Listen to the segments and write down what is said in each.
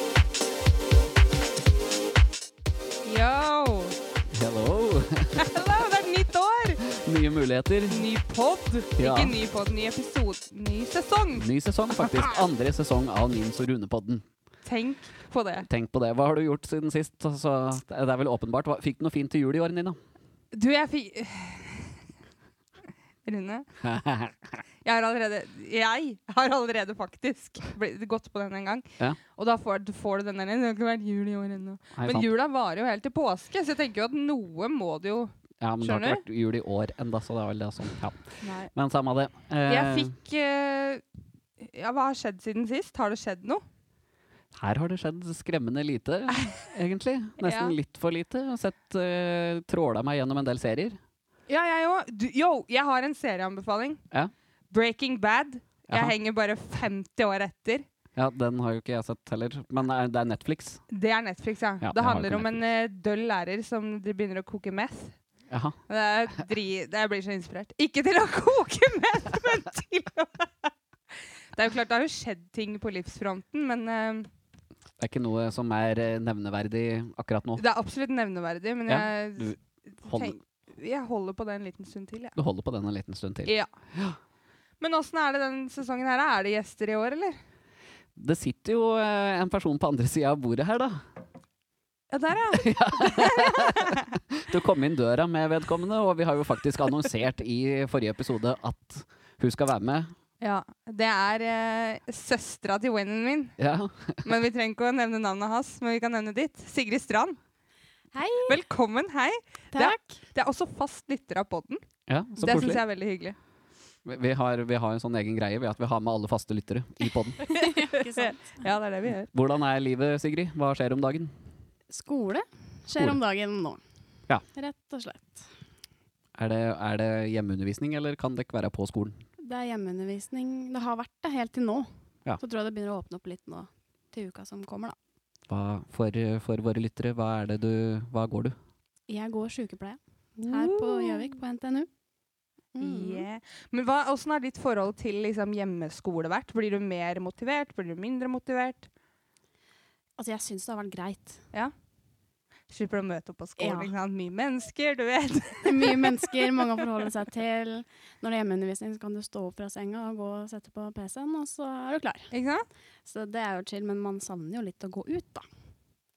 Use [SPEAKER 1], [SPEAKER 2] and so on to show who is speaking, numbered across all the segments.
[SPEAKER 1] muligheter.
[SPEAKER 2] Ny pod?
[SPEAKER 1] Ja.
[SPEAKER 2] Ikke ny pod, ny episode. Ny sesong!
[SPEAKER 1] Ny sesong, faktisk. Andre sesong av Nims og Rune-podden.
[SPEAKER 2] Tenk på det.
[SPEAKER 1] Tenk på det. Hva har du gjort siden sist? Altså, det er vel åpenbart. Hva- Fikk du noe fint til jul i år, Nina?
[SPEAKER 2] Du, jeg fikk Rune, jeg har allerede Jeg har allerede faktisk blitt- gått på den en gang.
[SPEAKER 1] Ja.
[SPEAKER 2] Og da får, får du den der. Det har ikke vært jul i år ennå.
[SPEAKER 1] Nei,
[SPEAKER 2] Men
[SPEAKER 1] sant.
[SPEAKER 2] jula varer jo helt til påske, så jeg tenker jo at noe må det jo
[SPEAKER 1] ja, men det har ikke
[SPEAKER 2] skjønner
[SPEAKER 1] vært jul i år enda, så det er vel det som ja.
[SPEAKER 2] Nei.
[SPEAKER 1] Men samme det. Eh,
[SPEAKER 2] Jeg fikk eh, Ja, hva har skjedd siden sist? Har det skjedd noe?
[SPEAKER 1] Her har det skjedd skremmende lite, egentlig.
[SPEAKER 2] Ja.
[SPEAKER 1] Nesten litt for lite. Jeg har sett eh, tråla meg gjennom en del serier.
[SPEAKER 2] Ja, jeg òg. Du- Yo, jeg har en serieanbefaling.
[SPEAKER 1] Ja.
[SPEAKER 2] Breaking Bad. Jeg
[SPEAKER 1] Jaha.
[SPEAKER 2] henger bare 50 år etter.
[SPEAKER 1] Ja, den har jo ikke jeg sett heller. Men eh, det er- det er Netflix.
[SPEAKER 2] Det er Netflix, ja.
[SPEAKER 1] Ja,
[SPEAKER 2] det
[SPEAKER 1] jeg har
[SPEAKER 2] handler
[SPEAKER 1] ikke
[SPEAKER 2] om en eh, døll lærer som de begynner å koke meth.
[SPEAKER 1] Jaha.
[SPEAKER 2] Det er dri det jeg blir så inspirert. Ikke til å koke meth, men til å Det er jo klart det har jo skjedd ting på livsfronten, men eh,
[SPEAKER 1] Det er ikke noe som er eh, nevneverdig akkurat nå.
[SPEAKER 2] det er absolutt nevneverdig. Men
[SPEAKER 1] Ja,
[SPEAKER 2] jeg,
[SPEAKER 1] Hold,
[SPEAKER 2] tenk, jeg holder på det en liten stund til, jeg.
[SPEAKER 1] du holder på den en liten stund til.
[SPEAKER 2] Ja. Men åssen er det den sesongen her? Er det gjester i år, eller?
[SPEAKER 1] Det sitter jo eh, en person på andre sida av bordet her, da.
[SPEAKER 2] Ja, der, ja.
[SPEAKER 1] Du kom inn døra med vedkommende, og vi har jo faktisk annonsert i forrige episode at hun skal være med.
[SPEAKER 2] ja. Det er eh, søstera til vennen min.
[SPEAKER 1] Ja.
[SPEAKER 2] Men vi trenger ikke å nevne navnet hans, men vi kan nevne ditt. Sigrid Strand.
[SPEAKER 3] Hei.
[SPEAKER 2] Velkommen, hei.
[SPEAKER 3] Takk.
[SPEAKER 2] Det er også fast lytter av podden.
[SPEAKER 1] ja så
[SPEAKER 2] det syns
[SPEAKER 1] koselig.
[SPEAKER 2] jeg er veldig hyggelig.
[SPEAKER 1] Vi- Vi har, vi har en sånn egen greie ved at vi har med alle faste lyttere i poden.
[SPEAKER 3] Ikke sant.
[SPEAKER 2] Ja, det er det vi gjør.
[SPEAKER 1] Hvordan er livet, Sigrid? Hva skjer om dagen?
[SPEAKER 3] Skole
[SPEAKER 1] Skole.
[SPEAKER 3] skjer om dagen nå.
[SPEAKER 1] Ja.
[SPEAKER 3] Rett og slett.
[SPEAKER 1] Er det, er det hjemmeundervisning, eller kan dere være på skolen?
[SPEAKER 3] Det er hjemmeundervisning. Det har vært det helt til nå.
[SPEAKER 1] Ja.
[SPEAKER 3] Så tror jeg det begynner å åpne opp litt nå til uka som kommer, da.
[SPEAKER 1] Hva, for, for våre lyttere, hva, er det du, hva går du?
[SPEAKER 3] Jeg går sykepleie her på Gjøvik, på NTNU. Mm.
[SPEAKER 2] Yeah. Men hva, Hvordan har ditt forhold til liksom, hjemmeskole vært? Blir du mer motivert? Blir du mindre motivert?
[SPEAKER 3] Altså, jeg syns det har vært greit.
[SPEAKER 2] Slipper du å møte opp på skolen?
[SPEAKER 3] Ja.
[SPEAKER 2] Ikke sant? Mye mennesker, du vet.
[SPEAKER 3] Det er mye mennesker, mange å forholde seg til. Når det er hjemmeundervisning, så kan du stå opp fra senga og gå og sette på PC-en, og så er du klar.
[SPEAKER 2] Ikke sant?
[SPEAKER 3] Så det er jo chill, men man savner jo litt å gå ut, da.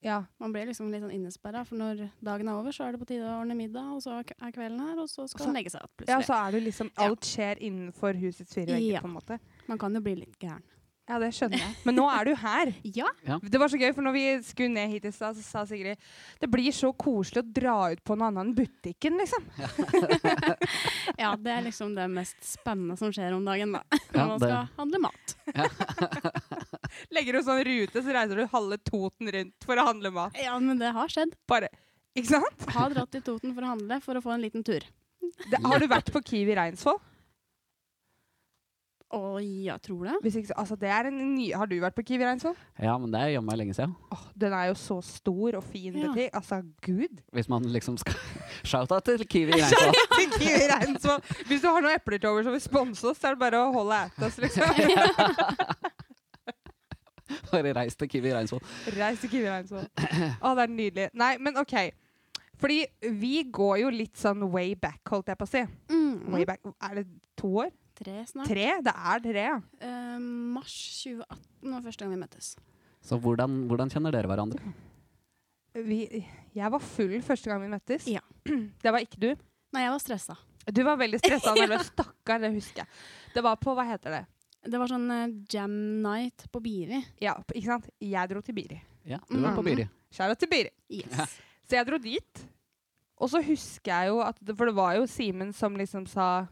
[SPEAKER 2] Ja.
[SPEAKER 3] Man blir liksom litt sånn innesperra, for når dagen er over, så er det på tide å ordne middag, og så er k- er kvelden her, og så skal
[SPEAKER 2] Og så-
[SPEAKER 3] man legge seg igjen
[SPEAKER 2] ja, så
[SPEAKER 3] plutselig.
[SPEAKER 2] er du liksom Alt skjer innenfor husets fire vegger,
[SPEAKER 3] Ja.
[SPEAKER 2] på en måte.
[SPEAKER 3] Man kan jo bli litt gæren.
[SPEAKER 2] Ja, det skjønner jeg. Men nå er du her.
[SPEAKER 3] Ja,
[SPEAKER 2] Det var så gøy, for når vi skulle ned hit i stad, så sa Sigrid det blir så koselig å dra ut på noe annet enn butikken, liksom.
[SPEAKER 3] ja, det er liksom det mest spennende som skjer om dagen, da.
[SPEAKER 1] Ja,
[SPEAKER 3] Når man
[SPEAKER 1] det-
[SPEAKER 3] skal handle mat.
[SPEAKER 2] Legger du sånn rute, så reiser du halve Toten rundt for å handle mat.
[SPEAKER 3] Ja, men det har skjedd.
[SPEAKER 2] Bare, ikke sant?
[SPEAKER 3] Har dratt til Toten for å handle for å få en liten tur.
[SPEAKER 2] Det, har du vært på Kiwi Reinsvoll?
[SPEAKER 3] Å ja, tror det.
[SPEAKER 2] Hvis ikke, så- altså, det er en ny, har du vært på Kiwi Reinsvoll?
[SPEAKER 1] Ja, men det er jammen lenge siden.
[SPEAKER 2] Åh, den er jo så stor og fin
[SPEAKER 3] Ja.
[SPEAKER 2] butikk. Altså, gud!
[SPEAKER 1] Hvis man liksom skal Shout-out til Kiwi Reinsvoll.
[SPEAKER 2] Kjære til Kiwi Reinsvoll! Hvis du har noen epler til over som vil sponse oss, så er det bare å holde at oss, liksom.
[SPEAKER 1] Bare reis til Kiwi Reinsvoll.
[SPEAKER 2] Reis til Kiwi Reinsvoll. Å, det er nydelig. Nei, men OK. Fordi vi går jo litt sånn way back, holdt jeg på å si. Way
[SPEAKER 3] Mm,
[SPEAKER 2] back. Er det to år?
[SPEAKER 3] tre snart.
[SPEAKER 2] Tre? Det er tre, ja.
[SPEAKER 3] Eh, mars 2018 var første gang vi møttes.
[SPEAKER 1] Så hvordan, hvordan kjenner dere hverandre?
[SPEAKER 2] Vi, jeg var full første gang vi møttes.
[SPEAKER 3] Ja.
[SPEAKER 2] Det var ikke du.
[SPEAKER 3] Nei, jeg var stressa.
[SPEAKER 2] Du var veldig stressa og nervøs. Stakkar, det husker jeg. Det var på hva heter det?
[SPEAKER 3] Det var sånn eh, jam night på Biri.
[SPEAKER 2] Ja, p- ikke sant? Jeg dro til Biri.
[SPEAKER 1] Ja, du var på Biri.
[SPEAKER 2] Skjæra til Biri.
[SPEAKER 3] Yes.
[SPEAKER 2] Så jeg dro dit. Og så husker jeg jo at det, For det var jo Simen som liksom sa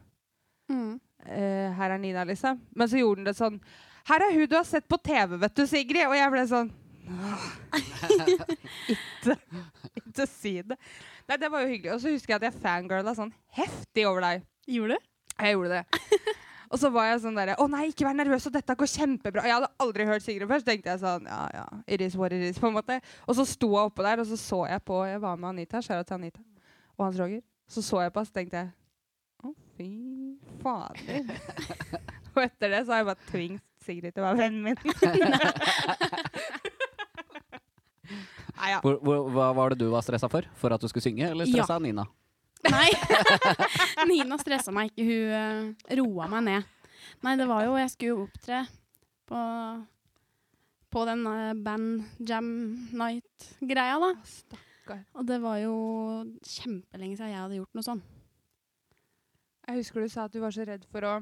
[SPEAKER 3] Mm.
[SPEAKER 2] eh, 'Her er Nina', liksom. Men så gjorde han det sånn 'Her er hun du har sett på TV, vet du, Sigrid'. Og jeg ble sånn «Åh, Ikke Ikke si det. Nei, det var jo hyggelig. Og så husker jeg at jeg fangirla sånn heftig over deg.
[SPEAKER 3] Gjorde du?
[SPEAKER 2] Jeg gjorde det. Og så var jeg sånn derre Å nei, ikke vær nervøs, og dette går kjempebra. Og jeg hadde aldri hørt Sigrid før, så tenkte jeg sånn Ja ja, it is what it is, på en måte. Og så sto jeg oppå der, og så så jeg på Jeg var med Anita, skjæra til Anita og Hans Roger. Så så jeg på, så tenkte jeg Å, fy fader. og etter det så har jeg bare tvingt Sigrid til å være vennen min. Nei ja.
[SPEAKER 1] Hvor, hvor, hva var det du var stressa for? For at du skulle synge, eller stressa Nina?
[SPEAKER 3] Nei. Nina stressa meg ikke. Hun eh, roa meg ned. Nei, det var jo Jeg skulle jo opptre på, på den eh, band jam night-greia, da.
[SPEAKER 2] Å, Stakkar.
[SPEAKER 3] Og det var jo kjempelenge siden jeg hadde gjort noe sånn.
[SPEAKER 2] Jeg husker du sa at du var så redd for å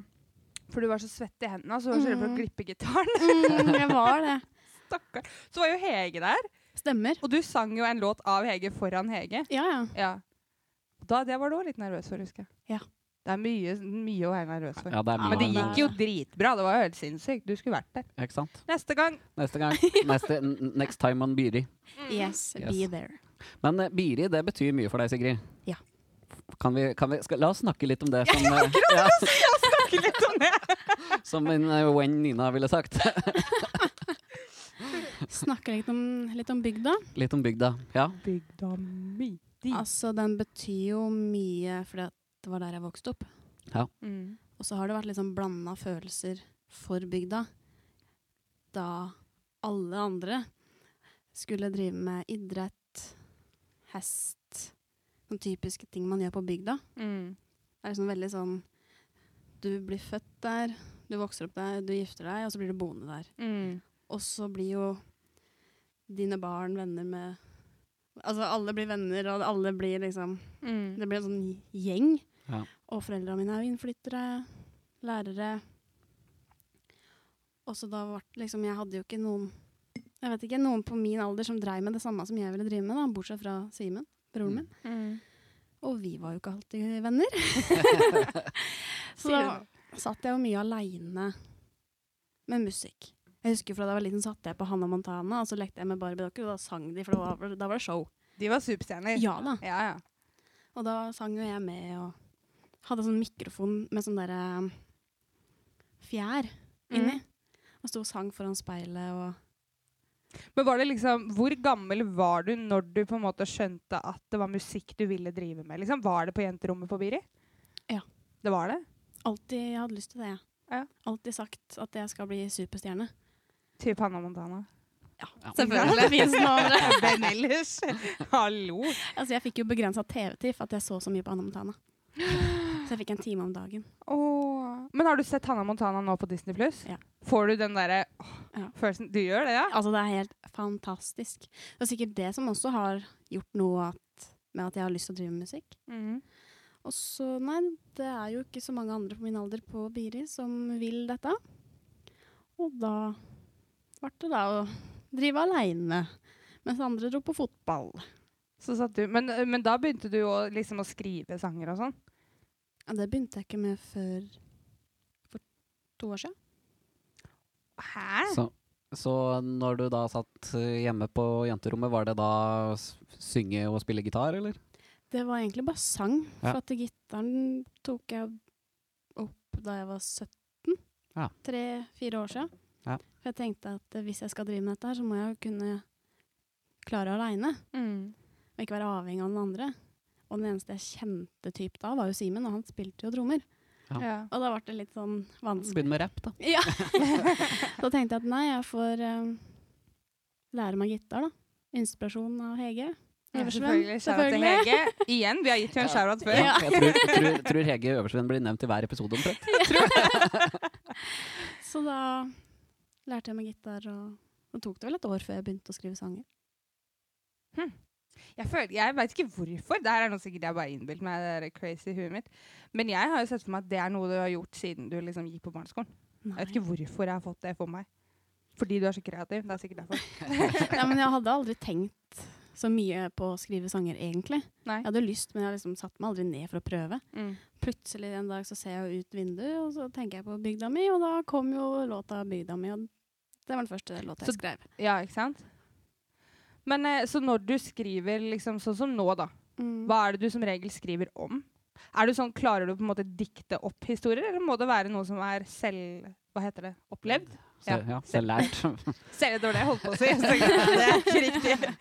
[SPEAKER 2] For du var så svett i hendene, så du var så redd for å
[SPEAKER 3] Mhm.
[SPEAKER 2] glippe gitaren.
[SPEAKER 3] Mm, jeg var det.
[SPEAKER 2] Stakkar. Så var jo Hege der,
[SPEAKER 3] Stemmer.
[SPEAKER 2] og du sang jo en låt av Hege foran Hege.
[SPEAKER 3] Ja, ja.
[SPEAKER 2] Ja. Da, det var du òg litt nervøs for, husker jeg.
[SPEAKER 3] Ja.
[SPEAKER 2] Det er mye, mye å være nervøs for.
[SPEAKER 1] Ja, det er mye
[SPEAKER 2] Men det
[SPEAKER 3] men-
[SPEAKER 2] gikk jo dritbra. Det var jo helt sinnssykt. Du skulle vært der.
[SPEAKER 1] Ikke sant?
[SPEAKER 2] Neste gang.
[SPEAKER 1] Neste gang. Neste, n- next time on Biri.
[SPEAKER 3] Yes, be
[SPEAKER 1] Yes.
[SPEAKER 3] there.
[SPEAKER 1] Men eh, Biri, det betyr mye for deg, Sigrid.
[SPEAKER 3] Ja.
[SPEAKER 1] Kan vi, kan vi, skal, la oss snakke litt om det som, eh,
[SPEAKER 2] Snakke litt om det.
[SPEAKER 1] ja, som en eh, Wen Nina ville sagt.
[SPEAKER 3] Snakke litt om, litt om bygda.
[SPEAKER 1] Litt om bygda. Ja.
[SPEAKER 2] Bygda mi.
[SPEAKER 3] Altså, den betyr jo mye fordi at det var der jeg vokste opp.
[SPEAKER 2] Mm.
[SPEAKER 3] Og så har det vært litt sånn blanda følelser for bygda. Da alle andre skulle drive med idrett, hest Sånne typiske ting man gjør på bygda.
[SPEAKER 2] Mm.
[SPEAKER 3] Det er liksom veldig sånn Du blir født der, du vokser opp der, du gifter deg, og så blir du boende der.
[SPEAKER 2] Mm.
[SPEAKER 3] Og så blir jo dine barn venner med Altså alle blir venner, og alle blir liksom
[SPEAKER 2] Mm.
[SPEAKER 3] Det blir en sånn gjeng.
[SPEAKER 1] Ja.
[SPEAKER 3] Og foreldrene mine er jo innflyttere, lærere. Og så da var det liksom Jeg hadde jo ikke noen Jeg vet ikke, noen på min alder som dreiv med det samme som jeg ville drive med, da, bortsett fra Simen, broren min.
[SPEAKER 2] Mm.
[SPEAKER 3] Og vi var jo ikke alltid venner. så da
[SPEAKER 2] Sier
[SPEAKER 3] satt jeg jo mye aleine med musikk. Jeg husker Fra da jeg var liten, satte jeg på Hannah Montana, og så lekte jeg med Barbie-dokker, og da sang de, for da var, da var det show.
[SPEAKER 2] De var superstjerner.
[SPEAKER 3] Ja da.
[SPEAKER 2] Ja, ja.
[SPEAKER 3] Og da sang jo jeg med og hadde sånn mikrofon med sånn derre um, fjær inni. Og sto og sang foran speilet og
[SPEAKER 2] Men var det liksom, Hvor gammel var du når du på en måte skjønte at det var musikk du ville drive med? Liksom, var det på jenterommet på Biri?
[SPEAKER 3] Ja.
[SPEAKER 2] Det var det?
[SPEAKER 3] alltid jeg hadde lyst til det. jeg.
[SPEAKER 2] Ja.
[SPEAKER 3] Alltid sagt at jeg skal bli superstjerne.
[SPEAKER 2] Typ Hanna Montana.
[SPEAKER 1] Ja.
[SPEAKER 3] Det finnes noen andre.
[SPEAKER 2] Hvem ellers? Hallo.
[SPEAKER 3] Altså, jeg fikk jo begrensa TV-tid for at jeg så så mye på Anna Montana. Så jeg fikk en time om dagen.
[SPEAKER 2] Åh. Men har du sett Hanna Montana nå på Disney Pluss?
[SPEAKER 3] Ja.
[SPEAKER 2] Får du den derre åh,
[SPEAKER 3] Ja.
[SPEAKER 2] følelsen Du gjør det, ja?
[SPEAKER 3] Altså, det er helt fantastisk. Det er sikkert det som også har gjort noe at, med at jeg har lyst til å drive med musikk.
[SPEAKER 2] Mhm.
[SPEAKER 3] Og så, nei, det er jo ikke så mange andre på min alder på Biri som vil dette. Og da ble det da å drive aleine, mens andre dro på fotball.
[SPEAKER 2] Så satt du. Men, men da begynte du jo liksom å skrive sanger og sånn?
[SPEAKER 3] Og det begynte jeg ikke med før for to år siden.
[SPEAKER 2] Hæ?
[SPEAKER 1] Så, så når du da satt eh, hjemme på jenterommet, var det da s- synge og spille gitar, eller?
[SPEAKER 3] Det var egentlig bare sang, for
[SPEAKER 1] Ja.
[SPEAKER 3] at gitaren tok jeg opp da jeg var 17.
[SPEAKER 1] Ja.
[SPEAKER 3] Tre-fire år siden.
[SPEAKER 1] Ja.
[SPEAKER 3] For jeg tenkte at eh, hvis jeg skal drive med dette her, så må jeg jo kunne klare aleine.
[SPEAKER 2] Mm.
[SPEAKER 3] og ikke være avhengig av den andre. Og den eneste jeg kjente typ da, var jo Simen, og han spilte jo trommer.
[SPEAKER 1] Ja.
[SPEAKER 2] Ja.
[SPEAKER 3] Og da ble det litt sånn vanskelig.
[SPEAKER 1] Begynne med rapp, da.
[SPEAKER 3] Ja. så tenkte jeg at nei, jeg får eh, lære meg gitar, da. Inspirasjon av Hege.
[SPEAKER 2] Ja,
[SPEAKER 3] Eversven,
[SPEAKER 2] selvfølgelig. Shout-out til
[SPEAKER 3] selvfølgelig.
[SPEAKER 2] Hege. Igjen, vi har gitt henne en shout-out før.
[SPEAKER 3] Ja.
[SPEAKER 1] Jeg tror, tror, tror Hege Øversveen blir nevnt i hver episode omtrent.
[SPEAKER 3] Så da lærte jeg meg gitar, og, og tok det vel et år før jeg begynte å skrive sanger.
[SPEAKER 2] Jeg, føler, jeg vet ikke hvorfor. Det her er noe sikkert jeg bare innbilt meg. Det der crazy huet mitt. Men jeg har jo sett for meg at det er noe du har gjort siden du liksom gikk på barneskolen. Jeg vet ikke hvorfor jeg har fått det for meg. Fordi du er så kreativ. Det er sikkert derfor.
[SPEAKER 3] ja, men jeg hadde aldri tenkt så mye på å skrive sanger, egentlig.
[SPEAKER 2] Nei.
[SPEAKER 3] Jeg hadde lyst, men jeg har liksom satt meg aldri ned for å prøve.
[SPEAKER 2] Mm.
[SPEAKER 3] plutselig en dag så ser jeg jo ut vinduet, og så tenker jeg på bygda mi, og da kom jo låta 'Bygda mi'. og Det var den første låta jeg
[SPEAKER 2] Så-
[SPEAKER 3] skrev.
[SPEAKER 2] Ja, ikke sant? Men eh, så når du skriver liksom sånn som nå, da.
[SPEAKER 3] Mm.
[SPEAKER 2] Hva er det du som regel skriver om? Er du sånn, Klarer du på en måte dikte opp historier, eller må det være noe som er selv... Hva heter det? Opplevd?
[SPEAKER 1] Så, ja, selvlært.
[SPEAKER 2] Selv det var det jeg holdt på å si. så tenkte jeg, Det er ikke riktig.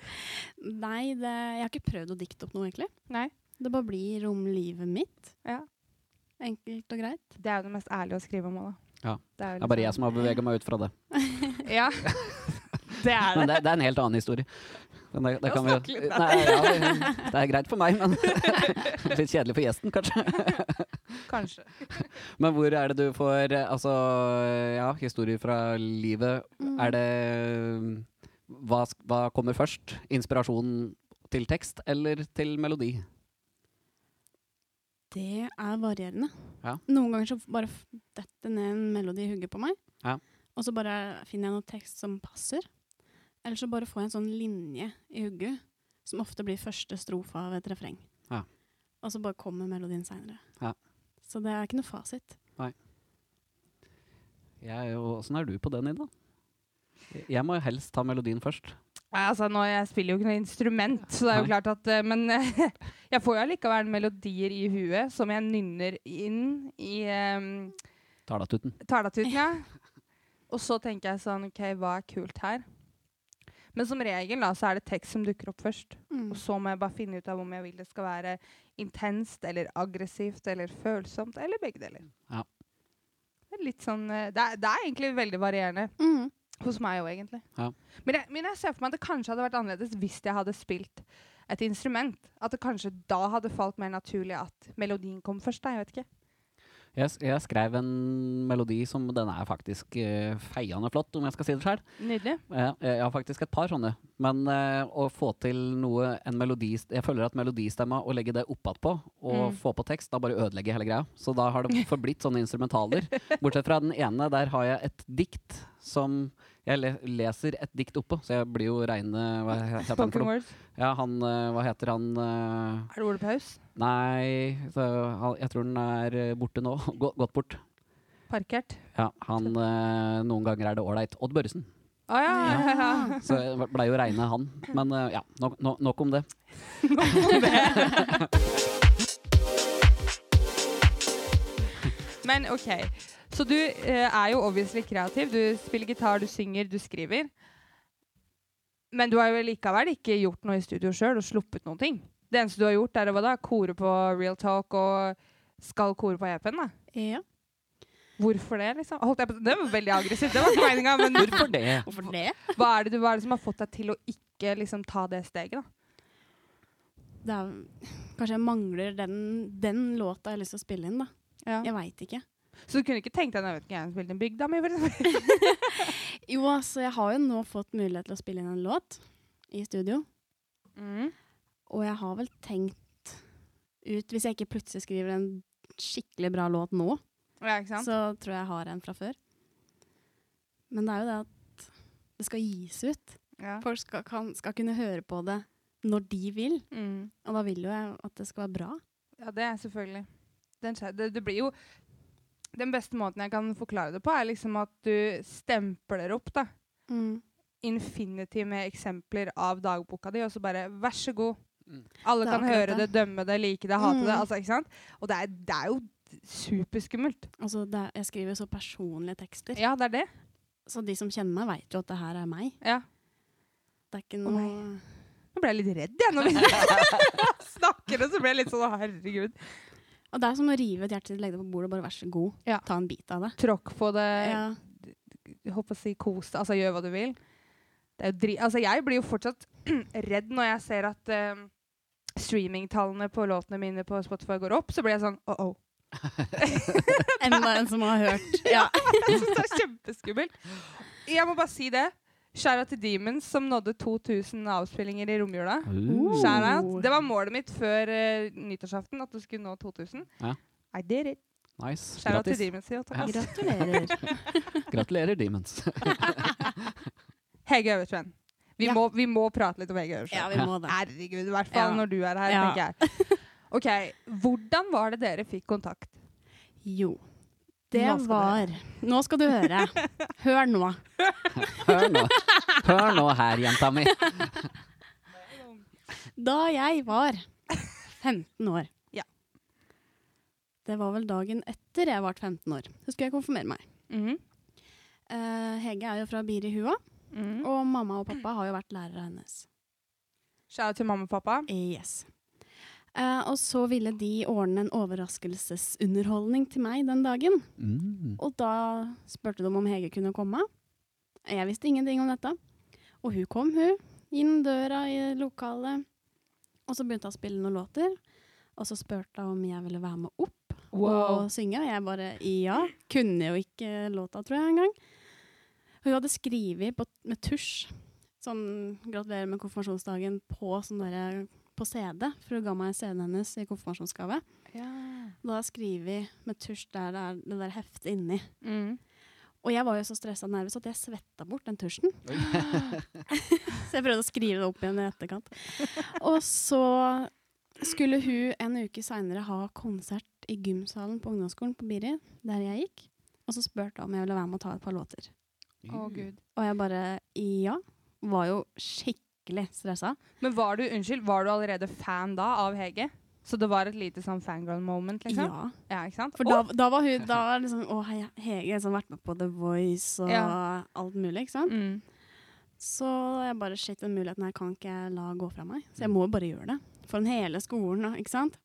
[SPEAKER 3] Nei, det, jeg har ikke prøvd å dikte opp noe, egentlig.
[SPEAKER 2] Nei.
[SPEAKER 3] Det bare blir om livet mitt.
[SPEAKER 2] Ja.
[SPEAKER 3] Enkelt og greit.
[SPEAKER 2] Det er jo det mest ærlige å skrive om òg, da.
[SPEAKER 1] Ja.
[SPEAKER 2] Det er liksom-
[SPEAKER 1] Det er bare jeg som har bevega meg ut fra det.
[SPEAKER 2] Ja. Det er det.
[SPEAKER 1] Men det, det er en helt annen historie. Men det, det
[SPEAKER 4] La
[SPEAKER 1] kan
[SPEAKER 4] oss
[SPEAKER 1] vi
[SPEAKER 4] snakke
[SPEAKER 1] jo-
[SPEAKER 4] litt mer.
[SPEAKER 1] Nei, ja, det, det er greit for meg, men litt kjedelig for gjesten, kanskje.
[SPEAKER 2] Kanskje.
[SPEAKER 1] Men hvor er det du får eh, Altså, ja, historier fra livet.
[SPEAKER 3] Mm.
[SPEAKER 1] Er det hva, sk- hva kommer først? Inspirasjonen til tekst eller til melodi?
[SPEAKER 3] Det er varierende.
[SPEAKER 1] Ja.
[SPEAKER 3] Noen ganger så bare f- detter ned en melodi i hugget på meg.
[SPEAKER 1] Ja.
[SPEAKER 3] Og så bare finner jeg noe tekst som passer. Eller så bare får jeg en sånn linje i hugget, som ofte blir første strofa av et refreng.
[SPEAKER 1] Ja.
[SPEAKER 3] Og så bare kommer melodien seinere.
[SPEAKER 1] Ja.
[SPEAKER 3] Så det er ikke noe fasit.
[SPEAKER 1] Jeg, er jo- hvordan er du på den, Ida? Jeg må jo helst ta melodien først.
[SPEAKER 2] Nei, altså, nå, jeg spiller jo ikke noe instrument, så det er jo
[SPEAKER 1] Nei.
[SPEAKER 2] klart at eh, Men jeg får jo allikevel melodier i huet som jeg nynner inn i um,
[SPEAKER 1] Talatuten.
[SPEAKER 2] talatuten, ja. Og så tenker jeg sånn OK, hva er kult her? Men som regel da, så er det tekst som dukker opp først.
[SPEAKER 3] Mm.
[SPEAKER 2] Og så må jeg bare finne ut av om jeg vil det skal være intenst eller aggressivt eller følsomt eller begge deler.
[SPEAKER 1] Ja.
[SPEAKER 2] Det er litt sånn eh, Det er, det er egentlig veldig varierende
[SPEAKER 3] Mm.
[SPEAKER 2] hos meg òg, egentlig.
[SPEAKER 1] Ja.
[SPEAKER 2] Men, jeg, men jeg ser for meg at det kanskje hadde vært annerledes hvis jeg hadde spilt et instrument. At det kanskje da hadde falt mer naturlig at melodien kom først. Da, jeg vet ikke.
[SPEAKER 1] Jeg, s- jeg skrev en melodi som den er faktisk eh, feiende flott, om jeg skal si det sjøl.
[SPEAKER 2] Nydelig.
[SPEAKER 1] Ja, jeg jeg har faktisk et par sånne. Men eh, å få til noe en melodi, Jeg føler at melodistemma, å legge det oppatpå og
[SPEAKER 2] Mm.
[SPEAKER 1] få på tekst, da bare ødelegger hele greia. Så da har det forblitt sånne instrumentaler. Bortsett fra den ene, der har jeg et dikt som Jeg le leser et dikt oppå, så jeg blir jo reine Hva he- heter han for
[SPEAKER 2] Spoken
[SPEAKER 1] noe?
[SPEAKER 2] words.
[SPEAKER 1] Ja, han eh, Hva heter han eh,
[SPEAKER 2] Er det Ole Paus?
[SPEAKER 1] Nei, så, han, jeg tror den er eh, borte nå. Gå, gått bort.
[SPEAKER 2] Parkert?
[SPEAKER 1] Ja, han eh, Noen ganger er det ålreit. Odd Børresen.
[SPEAKER 2] Å ja! ja. ja.
[SPEAKER 3] Ja.
[SPEAKER 1] Så det blei jo reine han. Men eh, ja, nok, nok, nok om det.
[SPEAKER 2] Men OK. Så du eh, er jo obviously kreativ. Du spiller gitar, du synger, du skriver. Men du har jo likevel ikke gjort noe i studio sjøl og sluppet noen ting. Det eneste du har gjort, er å hva da? kore på Real Talk og skal kore på EP-en. da.
[SPEAKER 3] Ja.
[SPEAKER 2] Hvorfor det, liksom? Holdt jeg på, det var veldig aggressivt. Det var ikke meninga. Men
[SPEAKER 1] Hvorfor det?
[SPEAKER 3] Hvorfor det?
[SPEAKER 2] hva er, det, du- hva er det som har fått deg til å ikke liksom, ta det steget? da?
[SPEAKER 3] det er, kanskje jeg mangler den, den låta jeg har lyst til å spille inn, da.
[SPEAKER 2] Ja.
[SPEAKER 3] Jeg veit ikke.
[SPEAKER 2] Så du kunne ikke tenkt deg Nå vet ikke jeg spilte en bygda mi, for eksempel.
[SPEAKER 3] Jo, altså, jeg har jo nå fått mulighet til å spille inn en låt i studio.
[SPEAKER 2] Mm.
[SPEAKER 3] Og jeg har vel tenkt ut Hvis jeg ikke plutselig skriver en skikkelig bra låt nå,
[SPEAKER 2] Ja, ikke sant?
[SPEAKER 3] så tror jeg jeg har en fra før. Men det er jo det at det skal gis ut.
[SPEAKER 2] Ja.
[SPEAKER 3] Folk skal, kan, skal kunne høre på det når de vil.
[SPEAKER 2] Mm.
[SPEAKER 3] Og da vil jo jeg at det skal være bra.
[SPEAKER 2] Ja, det er selvfølgelig. Den, skje- det, det blir jo Den beste måten jeg kan forklare det på, er liksom at du stempler opp da,
[SPEAKER 3] Mm.
[SPEAKER 2] infinity med eksempler av dagboka di, og så bare Vær så god.
[SPEAKER 1] Mm.
[SPEAKER 2] Alle
[SPEAKER 3] Det er
[SPEAKER 2] kan
[SPEAKER 3] akkurat
[SPEAKER 2] høre det, dømme det, like det, hate
[SPEAKER 3] Mm.
[SPEAKER 2] det. Altså, ikke sant? Og det er, det er jo superskummelt.
[SPEAKER 3] Altså, det er, jeg skriver så personlige tekster.
[SPEAKER 2] Ja, det er det.
[SPEAKER 3] Så de som kjenner meg, veit jo at det her er meg.
[SPEAKER 2] Ja.
[SPEAKER 3] Det er ikke
[SPEAKER 2] Å,
[SPEAKER 3] noe
[SPEAKER 2] nei. Nå ble jeg litt redd, jeg, når vi snakker, og så ble jeg litt sånn Herregud.
[SPEAKER 3] Og det er som å rive et hjerte, legge det på bordet og bare vær så god,
[SPEAKER 2] Ja.
[SPEAKER 3] ta en bit av det.
[SPEAKER 2] Tråkk på det.
[SPEAKER 3] Ja.
[SPEAKER 2] jeg håper å si kos deg, altså gjør hva du vil. Det er jo dri altså, jeg blir jo fortsatt redd når jeg ser at eh, streamingtallene på låtene mine på Spotify går opp, så blir jeg sånn oh oh.
[SPEAKER 3] Enda en som har hørt. Ja.
[SPEAKER 2] jeg synes det er kjempeskummelt. Jeg må bare si det. Skjæra til Demons som nådde 2000 avspillinger i romjula.
[SPEAKER 3] Uh.
[SPEAKER 2] Shout out. Det var målet mitt før eh, nyttårsaften, at du skulle nå 2000.
[SPEAKER 1] Ja.
[SPEAKER 2] I did it.
[SPEAKER 1] Nice.
[SPEAKER 2] Skjæra til
[SPEAKER 1] Grattis.
[SPEAKER 2] Demons. Ja, takk.
[SPEAKER 3] Gratulerer.
[SPEAKER 1] Gratulerer, Demons.
[SPEAKER 2] Hege Øvertven. Vi,
[SPEAKER 3] Ja.
[SPEAKER 2] må, vi må prate litt om Hege Øvertven.
[SPEAKER 3] Ja, vi må det.
[SPEAKER 2] Herregud, i hvert fall
[SPEAKER 3] Ja.
[SPEAKER 2] når du er her,
[SPEAKER 3] Ja.
[SPEAKER 2] tenker jeg. Ok, Hvordan var det dere fikk kontakt?
[SPEAKER 3] Jo. Det
[SPEAKER 2] Nå skal du
[SPEAKER 3] var Nå skal du høre. Hør nå.
[SPEAKER 1] Hør nå. Hør nå her, jenta mi.
[SPEAKER 3] Da jeg var 15 år
[SPEAKER 2] Ja.
[SPEAKER 3] Det var vel dagen etter jeg ble 15 år. Så skulle jeg konfirmere meg.
[SPEAKER 2] Mhm.
[SPEAKER 3] Eh, Hege er jo fra Birihua,
[SPEAKER 2] Mhm.
[SPEAKER 3] og mamma og pappa har jo vært lærere hennes.
[SPEAKER 2] Shout out til mamma og pappa.
[SPEAKER 3] Yes. Eh, og så ville de ordne en overraskelsesunderholdning til meg den dagen.
[SPEAKER 1] Mm.
[SPEAKER 3] Og da spurte de om Hege kunne komme. Jeg visste ingenting om dette. Og hun kom, hun. Inn døra i lokalet. Og så begynte hun å spille noen låter. Og så spurte hun om jeg ville være med opp og synge. Og jeg bare ja. Kunne jo ikke låta, tror jeg, engang. Og hun hadde skrevet på- med tusj sånn 'Gratulerer med konfirmasjonsdagen' på, sånn derre- på CD, for hun ga meg CD-en hennes i konfirmasjonsgave.
[SPEAKER 2] Ja.
[SPEAKER 3] Da har jeg skrevet med tusj der det er det der heftet inni.
[SPEAKER 2] Mm.
[SPEAKER 3] Og jeg var jo så stressa og nervøs at jeg svetta bort den tusjen. så jeg prøvde å skrive det opp igjen i etterkant. Og så skulle hun en uke seinere ha konsert i gymsalen på ungdomsskolen på Biri, der jeg gikk. Og så spurte hun om jeg ville være med og ta et par låter.
[SPEAKER 2] Å, gud.
[SPEAKER 3] Og jeg bare ja. Var jo skikkelig stressa.
[SPEAKER 2] Men var du unnskyld, var du allerede fan da av Hege? Så det var et lite sånn fangirl moment? liksom?
[SPEAKER 3] Ja.
[SPEAKER 2] Ja, ikke sant?
[SPEAKER 3] For da, da var hun da var liksom, Å, hei, Hege som har vært med på The Voice og
[SPEAKER 2] Ja.
[SPEAKER 3] alt mulig, ikke
[SPEAKER 2] Å,
[SPEAKER 3] sant.
[SPEAKER 2] mm.
[SPEAKER 3] Så jeg bare Shit, den muligheten her kan ikke jeg la gå fra meg. Så jeg må jo bare gjøre det. Foran hele skolen, og- ikke sant.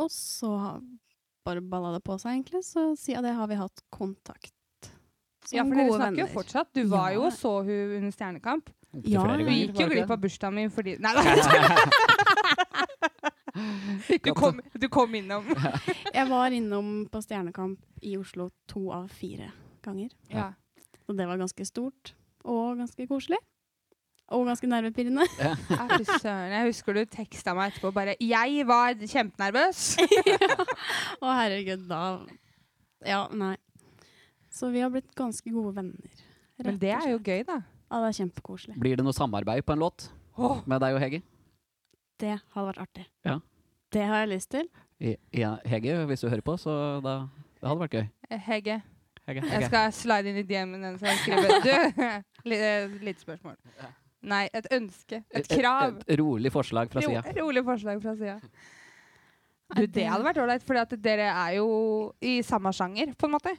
[SPEAKER 3] Og så bare balla det på seg, egentlig. Så siden det har vi hatt kontakt. Som
[SPEAKER 2] ja, for dere snakker jo fortsatt. Du var
[SPEAKER 3] Ja.
[SPEAKER 2] jo og så hun under Stjernekamp.
[SPEAKER 1] Opptil
[SPEAKER 3] Ja,
[SPEAKER 1] flere
[SPEAKER 2] Du
[SPEAKER 1] ganger.
[SPEAKER 2] gikk jo
[SPEAKER 3] var det
[SPEAKER 2] glipp
[SPEAKER 3] det?
[SPEAKER 2] av bursdagen min fordi Nei, nei. Du kom, du kom innom.
[SPEAKER 3] Jeg var innom på Stjernekamp i Oslo to av fire ganger.
[SPEAKER 2] Ja.
[SPEAKER 3] Og det var ganske stort. Og ganske koselig. Og ganske nervepirrende.
[SPEAKER 2] Ja, fy søren. Jeg husker du teksta meg etterpå bare 'Jeg var kjempenervøs'.
[SPEAKER 3] Å, herregud, da Ja, nei. Så vi har blitt ganske gode venner.
[SPEAKER 2] Men det er jo gøy, da.
[SPEAKER 3] Ja, det er kjempekoselig.
[SPEAKER 1] Blir det noe samarbeid på en låt
[SPEAKER 2] Åh,
[SPEAKER 1] med deg og Hege?
[SPEAKER 3] Det hadde vært artig.
[SPEAKER 1] Ja.
[SPEAKER 3] Det har jeg lyst til.
[SPEAKER 1] I- Ja, Hege, hvis du hører på, så da Det hadde vært gøy.
[SPEAKER 2] Eh, Hege,
[SPEAKER 1] Hege.
[SPEAKER 2] jeg skal slide inn i DM-en hennes og skrive 'Du'. li- eh, Lite spørsmål. Nei, et ønske. Et krav.
[SPEAKER 1] Et, et rolig forslag fra
[SPEAKER 2] Ro,
[SPEAKER 1] sida.
[SPEAKER 2] rolig forslag fra sida. Du, det hadde vært ålreit, for dere er jo i samme sjanger, på en måte.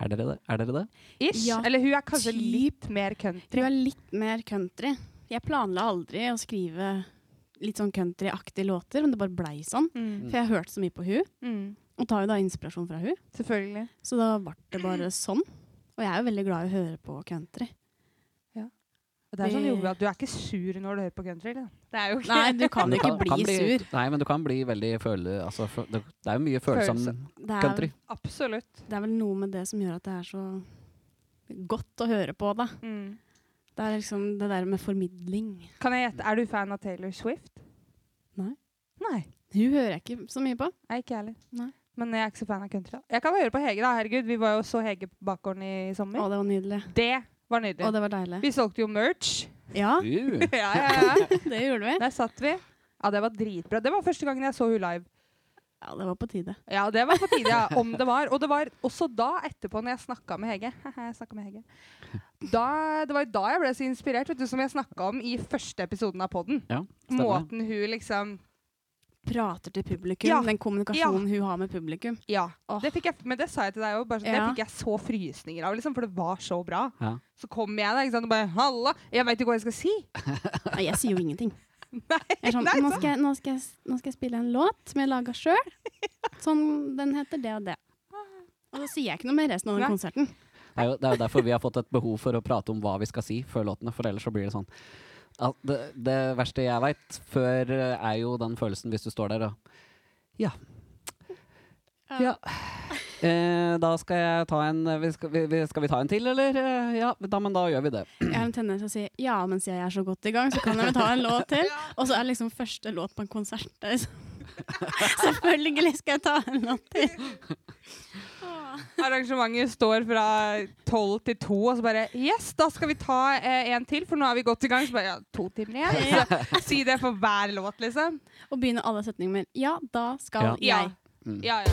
[SPEAKER 1] Er dere det? Er dere det?
[SPEAKER 2] Ish.
[SPEAKER 3] Ja,
[SPEAKER 2] Eller hun er kanskje
[SPEAKER 3] typ.
[SPEAKER 2] litt mer
[SPEAKER 3] Jeg tror
[SPEAKER 2] country.
[SPEAKER 3] jeg er litt mer country. Jeg planla aldri å skrive litt sånn countryaktige låter, men det bare blei sånn.
[SPEAKER 2] Mm.
[SPEAKER 3] For jeg hørte så mye på hun,
[SPEAKER 2] Mm.
[SPEAKER 3] og tar jo da inspirasjon fra hun.
[SPEAKER 2] Selvfølgelig.
[SPEAKER 3] Så da ble det bare sånn. Og jeg er jo veldig glad i å høre på country.
[SPEAKER 2] Og det er sånn
[SPEAKER 3] Vi-
[SPEAKER 2] Jove, at Du er ikke sur når du hører på country. Da. Det er jo ikke
[SPEAKER 3] Nei, du kan
[SPEAKER 1] Men du
[SPEAKER 3] ikke bli sur.
[SPEAKER 1] Nei, men du kan bli veldig føle... Altså, fø- det, det er jo mye følsom
[SPEAKER 2] Følsom.
[SPEAKER 3] Det er,
[SPEAKER 1] country.
[SPEAKER 2] Absolutt.
[SPEAKER 3] det er vel noe med det som gjør at det er så godt å høre på, da.
[SPEAKER 2] Mm.
[SPEAKER 3] Det er liksom det der med formidling.
[SPEAKER 2] Kan jeg gjette, Er du fan av Taylor Swift?
[SPEAKER 3] Nei.
[SPEAKER 2] Nei,
[SPEAKER 3] Hun hører jeg ikke så mye på.
[SPEAKER 2] jeg er ikke jeg heller.
[SPEAKER 3] Nei.
[SPEAKER 2] Men jeg er ikke så fan av country. da. Jeg kan høre på Hege, da. Herregud, vi var jo så Hege på bakgården i sommer.
[SPEAKER 3] Å, det var nydelig.
[SPEAKER 2] Det var nydelig.
[SPEAKER 3] Å, det var deilig.
[SPEAKER 2] Vi solgte jo merch.
[SPEAKER 3] Ja,
[SPEAKER 1] Uh,
[SPEAKER 2] ja, ja, ja.
[SPEAKER 3] det gjorde vi.
[SPEAKER 2] Der satt vi. Ja, det var dritbra. Det var første gangen jeg så hun live.
[SPEAKER 3] Ja, det var på tide.
[SPEAKER 2] Ja, det var på tide, ja. Om det var. Og det var også da etterpå, når jeg snakka med Hege. jeg snakket med Hege. Da, det var da jeg ble så inspirert, vet du, som jeg snakka om i første episoden av podden.
[SPEAKER 1] ja, stemmer.
[SPEAKER 2] Måten hun liksom
[SPEAKER 3] Prater til publikum,
[SPEAKER 2] Ja.
[SPEAKER 3] den kommunikasjonen hun har med publikum.
[SPEAKER 2] Ja.
[SPEAKER 3] Åh.
[SPEAKER 2] Det fikk jeg, men det sa jeg til deg òg. Det
[SPEAKER 3] Ja.
[SPEAKER 2] fikk jeg så frysninger av, liksom, for det var så bra.
[SPEAKER 1] Ja.
[SPEAKER 2] Så kom jeg der ikke sant, og bare 'Halla, jeg veit ikke hva jeg skal si'.
[SPEAKER 3] Nei, jeg sier jo ingenting.
[SPEAKER 2] Nei,
[SPEAKER 3] Jeg er sånn,
[SPEAKER 2] nei,
[SPEAKER 3] nå, skal jeg, nå, skal jeg, nå skal jeg spille en låt som jeg laga sjøl. Sånn, den heter det og det. Og så sier jeg ikke noe mer resten av den
[SPEAKER 2] Nei.
[SPEAKER 3] konserten.
[SPEAKER 1] Det er jo det er jo derfor vi har fått et behov for å prate om hva vi skal si før låtene, for ellers så blir det sånn. Al- det, det verste jeg veit før, eh, er jo den følelsen hvis du står der og Ja. Ja. Eh, da skal jeg ta en eh, vi skal, vi- vi, skal vi ta en til, eller? Eh, Ja, da, men da gjør vi det.
[SPEAKER 3] Jeg har en tendens til å si ja, men siden jeg er så godt i gang, så kan jeg vel ta en låt til. Og så er det liksom første låt på en konsert. det er sånn. Selvfølgelig skal jeg ta en låt til.
[SPEAKER 2] Arrangementet står fra tolv til to, og så bare 'Yes, da skal vi ta eh, en til, for nå er vi godt i gang.' Så bare ja, 'To timer igjen.' Så, si det for hver låt, liksom.
[SPEAKER 3] Og begynner alle setninger med ja, da skal
[SPEAKER 2] Ja.
[SPEAKER 3] jeg.
[SPEAKER 1] Mm.
[SPEAKER 2] ja, ja.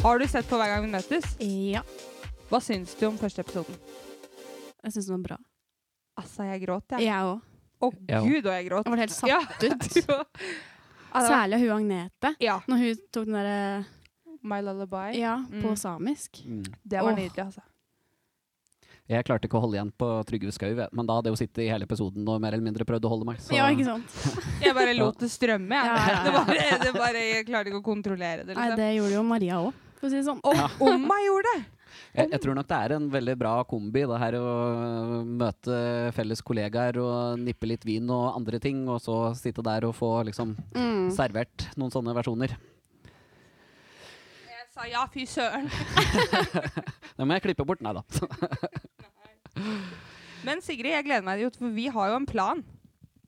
[SPEAKER 2] Har du sett på Hver gang vi møtes?
[SPEAKER 3] Ja.
[SPEAKER 2] Hva syns du om første episoden?
[SPEAKER 3] Jeg syns den var bra.
[SPEAKER 2] Altså, jeg gråt, jeg.
[SPEAKER 3] Jeg òg.
[SPEAKER 2] Å
[SPEAKER 1] Ja.
[SPEAKER 2] gud, og jeg gråt.
[SPEAKER 3] Jeg ble helt satt
[SPEAKER 2] Ja, du
[SPEAKER 3] ut.
[SPEAKER 2] var- Ja, det var-
[SPEAKER 3] Særlig hun Agnete.
[SPEAKER 2] ja.
[SPEAKER 3] Når hun tok den derre
[SPEAKER 2] My Lullaby.
[SPEAKER 3] ja, på
[SPEAKER 2] Mm.
[SPEAKER 3] samisk.
[SPEAKER 1] Mm.
[SPEAKER 2] Det var
[SPEAKER 3] Åh.
[SPEAKER 2] nydelig, altså.
[SPEAKER 1] Jeg klarte ikke å holde igjen på Trygve Skau, jeg, men da hadde jeg jo sittet i hele episoden og mer eller mindre prøvd å holde meg. Så
[SPEAKER 3] Ja, ikke sant?
[SPEAKER 2] Jeg bare lot det strømme, jeg.
[SPEAKER 3] Ja, ja, ja.
[SPEAKER 2] Det bare, det bare, jeg klarte ikke å kontrollere det.
[SPEAKER 3] Nei,
[SPEAKER 2] Liksom.
[SPEAKER 3] det gjorde jo Maria òg, for å si det sånn.
[SPEAKER 2] Og Omma gjorde det!
[SPEAKER 1] Jeg, jeg tror nok det er en veldig bra kombi, det her å eh, møte felles kollegaer og nippe litt vin og andre ting, og så sitte der og få liksom
[SPEAKER 3] Mm.
[SPEAKER 1] servert noen sånne versjoner.
[SPEAKER 2] Jeg sa ja, fy søren.
[SPEAKER 1] Det må jeg klippe bort. Nei da.
[SPEAKER 2] Men Sigrid, jeg gleder meg, jo, for vi har jo en plan.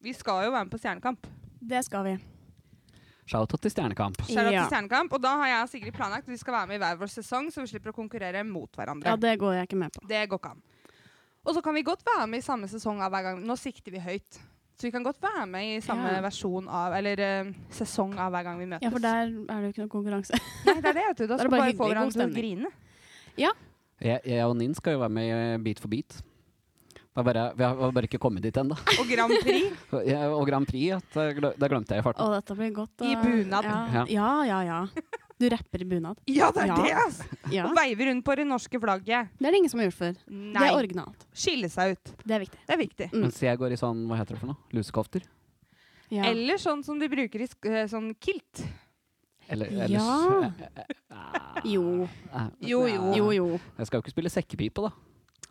[SPEAKER 2] Vi skal jo være med på Stjernekamp.
[SPEAKER 3] Det skal vi.
[SPEAKER 1] Shout-out til Stjernekamp.
[SPEAKER 2] Shout out
[SPEAKER 3] Ja.
[SPEAKER 2] til Stjernekamp, Og da har jeg og Sigrid planlagt at vi skal være med i hver vår sesong, så vi slipper å konkurrere mot hverandre.
[SPEAKER 3] Ja, det går jeg ikke med på.
[SPEAKER 2] Det går ikke an. Og så kan vi godt være med i samme sesong av hver gang. Nå sikter vi høyt. Så vi kan godt være med i samme
[SPEAKER 3] Ja.
[SPEAKER 2] versjon av, eller eh, sesong av hver gang vi møtes.
[SPEAKER 3] Ja, for der er det jo ikke noe konkurranse.
[SPEAKER 2] Nei, det er det, vet du. Da
[SPEAKER 3] Da er
[SPEAKER 2] skal vi
[SPEAKER 3] det bare
[SPEAKER 2] bare få
[SPEAKER 3] hyggelig, god
[SPEAKER 2] hverandre til å
[SPEAKER 3] stemning.
[SPEAKER 2] grine.
[SPEAKER 1] Jeg, jeg og Ninn skal jo være med i Beat for beat. Det er bare, vi har bare ikke kommet dit ennå.
[SPEAKER 2] Og Grand Prix.
[SPEAKER 1] Jeg- Og Grand Prix, at jeg glem- det glemte jeg i farten.
[SPEAKER 3] Å, dette blir godt.
[SPEAKER 2] I
[SPEAKER 3] da.
[SPEAKER 2] bunad.
[SPEAKER 3] Ja, ja, ja. ja. Du rapper i bunad.
[SPEAKER 2] Ja, det er
[SPEAKER 3] Ja.
[SPEAKER 2] det, altså!
[SPEAKER 3] Ja.
[SPEAKER 2] Og veiver rundt på det norske flagget.
[SPEAKER 3] Det er det ingen som har gjort før. Det
[SPEAKER 2] Nei.
[SPEAKER 3] er originalt.
[SPEAKER 2] Skille seg ut.
[SPEAKER 3] Det er viktig.
[SPEAKER 2] Det er viktig.
[SPEAKER 3] Mm.
[SPEAKER 1] Mens jeg går i sånn, hva heter det for noe? Lusekofter?
[SPEAKER 3] Ja.
[SPEAKER 2] Eller sånn som de bruker i sk- eh, sånn kilt.
[SPEAKER 1] Eller,
[SPEAKER 3] Ja.
[SPEAKER 1] s- eh, eh, eh,
[SPEAKER 3] Jo.
[SPEAKER 1] eh,
[SPEAKER 2] Jo, jo.
[SPEAKER 3] Jo, jo.
[SPEAKER 1] Jeg skal jo ikke spille sekkepipe, da.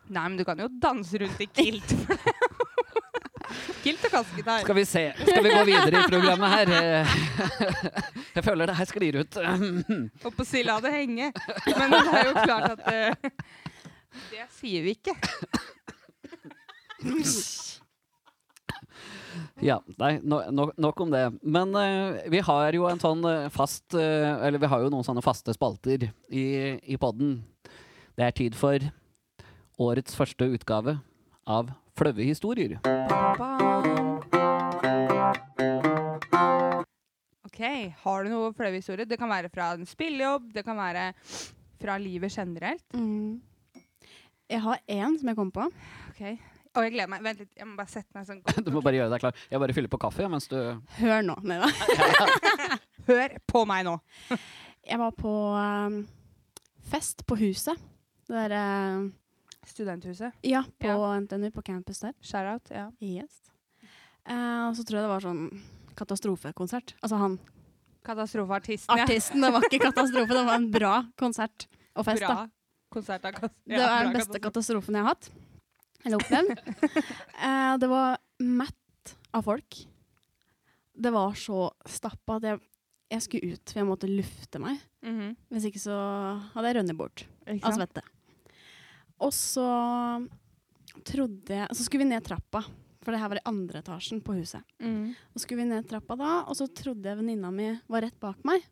[SPEAKER 2] Nei, men du kan jo danse rundt i kilt. for det er jo- kilt og kasketar.
[SPEAKER 1] Skal vi se. Skal vi gå videre i programmet her? Eh, Jeg føler det her sklir ut.
[SPEAKER 2] Og på si la det henge. Men det er jo klart at eh, Det sier vi ikke.
[SPEAKER 1] Ja, nei, no, no, nok om det. Men eh, vi har jo en sånn eh, fast eh, Eller vi har jo noen sånne faste spalter i, i podden. Det er tid for årets første utgave av Flaue historier.
[SPEAKER 2] Bam. OK, har du noe flaue historier? Det kan være fra en spillejobb, det kan være fra livet generelt.
[SPEAKER 3] Mm. Jeg har én som jeg kom på.
[SPEAKER 2] Ok. Og jeg gleder meg. Vent litt, jeg må bare sette meg sånn godt.
[SPEAKER 1] Du må bare gjøre deg klar. Jeg bare fyller på kaffe ja, mens du
[SPEAKER 3] Hør nå. Nei da.
[SPEAKER 2] Hør på meg nå.
[SPEAKER 3] Jeg var på eh, fest på Huset. Det derre
[SPEAKER 2] Studenthuset.
[SPEAKER 3] Ja, på
[SPEAKER 2] Ja.
[SPEAKER 3] NTNU, på campus der.
[SPEAKER 2] Shout-out. Ja.
[SPEAKER 3] Yes. Eh, og så tror jeg det var sånn katastrofekonsert. Altså han
[SPEAKER 2] Katastrofeartisten, ja.
[SPEAKER 3] artisten. Det var ikke katastrofe, det var en bra konsert og fest. da.
[SPEAKER 2] Bra konsert av kas-
[SPEAKER 3] Det
[SPEAKER 2] ja,
[SPEAKER 3] var
[SPEAKER 2] bra
[SPEAKER 3] den beste
[SPEAKER 2] katastrofe.
[SPEAKER 3] katastrofen jeg har hatt. Eller opplevd. Eh, det var mett av folk. Det var så stappa at jeg, jeg skulle ut, for jeg måtte lufte meg.
[SPEAKER 2] Mhm.
[SPEAKER 3] Hvis ikke så hadde jeg rønnet bort
[SPEAKER 2] Ikke
[SPEAKER 3] av
[SPEAKER 2] sant?
[SPEAKER 3] svette. Og så trodde jeg Så skulle vi ned trappa, for det her var i andre etasjen på huset.
[SPEAKER 2] Mhm.
[SPEAKER 3] Og så skulle vi ned trappa da, og så trodde jeg venninna mi var rett bak meg.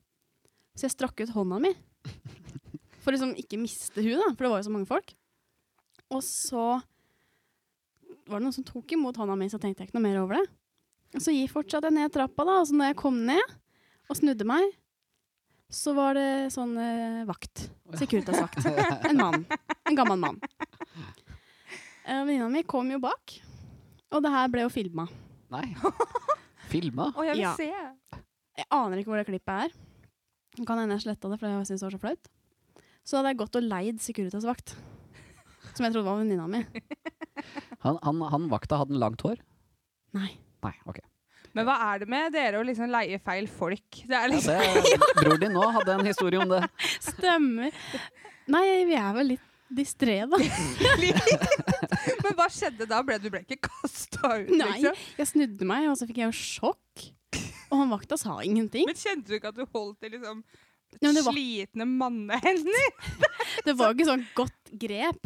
[SPEAKER 3] Så jeg strakk ut hånda mi. For liksom ikke miste hun da, for det var jo så mange folk. Og så var det noen som tok imot hånda mi, så tenkte jeg ikke noe mer over det. Og så gikk fortsatt jeg ned trappa da, og så når jeg kom ned og snudde meg, så var det sånn eh, vakt. Securitas-vakt. En mann. En gammel mann. Eh, venninna mi kom jo bak, og det her ble jo filma.
[SPEAKER 1] Nei. Filma?
[SPEAKER 2] Å, jeg vil
[SPEAKER 3] Ja.
[SPEAKER 2] se!
[SPEAKER 3] Jeg aner ikke hvor det klippet er. Det Kan hende jeg sletta det, for jeg syntes det var så flaut. Så hadde jeg gått og leid Securitas-vakt. Som jeg trodde var venninna mi.
[SPEAKER 1] Han, han, han vakta hadde en langt hår?
[SPEAKER 3] Nei.
[SPEAKER 1] Nei, ok.
[SPEAKER 2] Men hva er det med dere å liksom leie feil folk? Det er
[SPEAKER 1] Ja,
[SPEAKER 2] liksom
[SPEAKER 1] det, bror din nå hadde en historie om det.
[SPEAKER 3] Stemmer. Nei, vi er vel litt distré, da.
[SPEAKER 2] Men hva skjedde da? Ble, du ble ikke kasta ut,
[SPEAKER 3] Nei.
[SPEAKER 2] liksom?
[SPEAKER 3] Jeg snudde meg, og så fikk jeg jo sjokk. Og han vakta sa ingenting.
[SPEAKER 2] Men kjente du ikke at du holdt i liksom
[SPEAKER 3] Nei, men det var-
[SPEAKER 2] slitne mannehender?
[SPEAKER 3] Det var jo ikke sånn godt grep.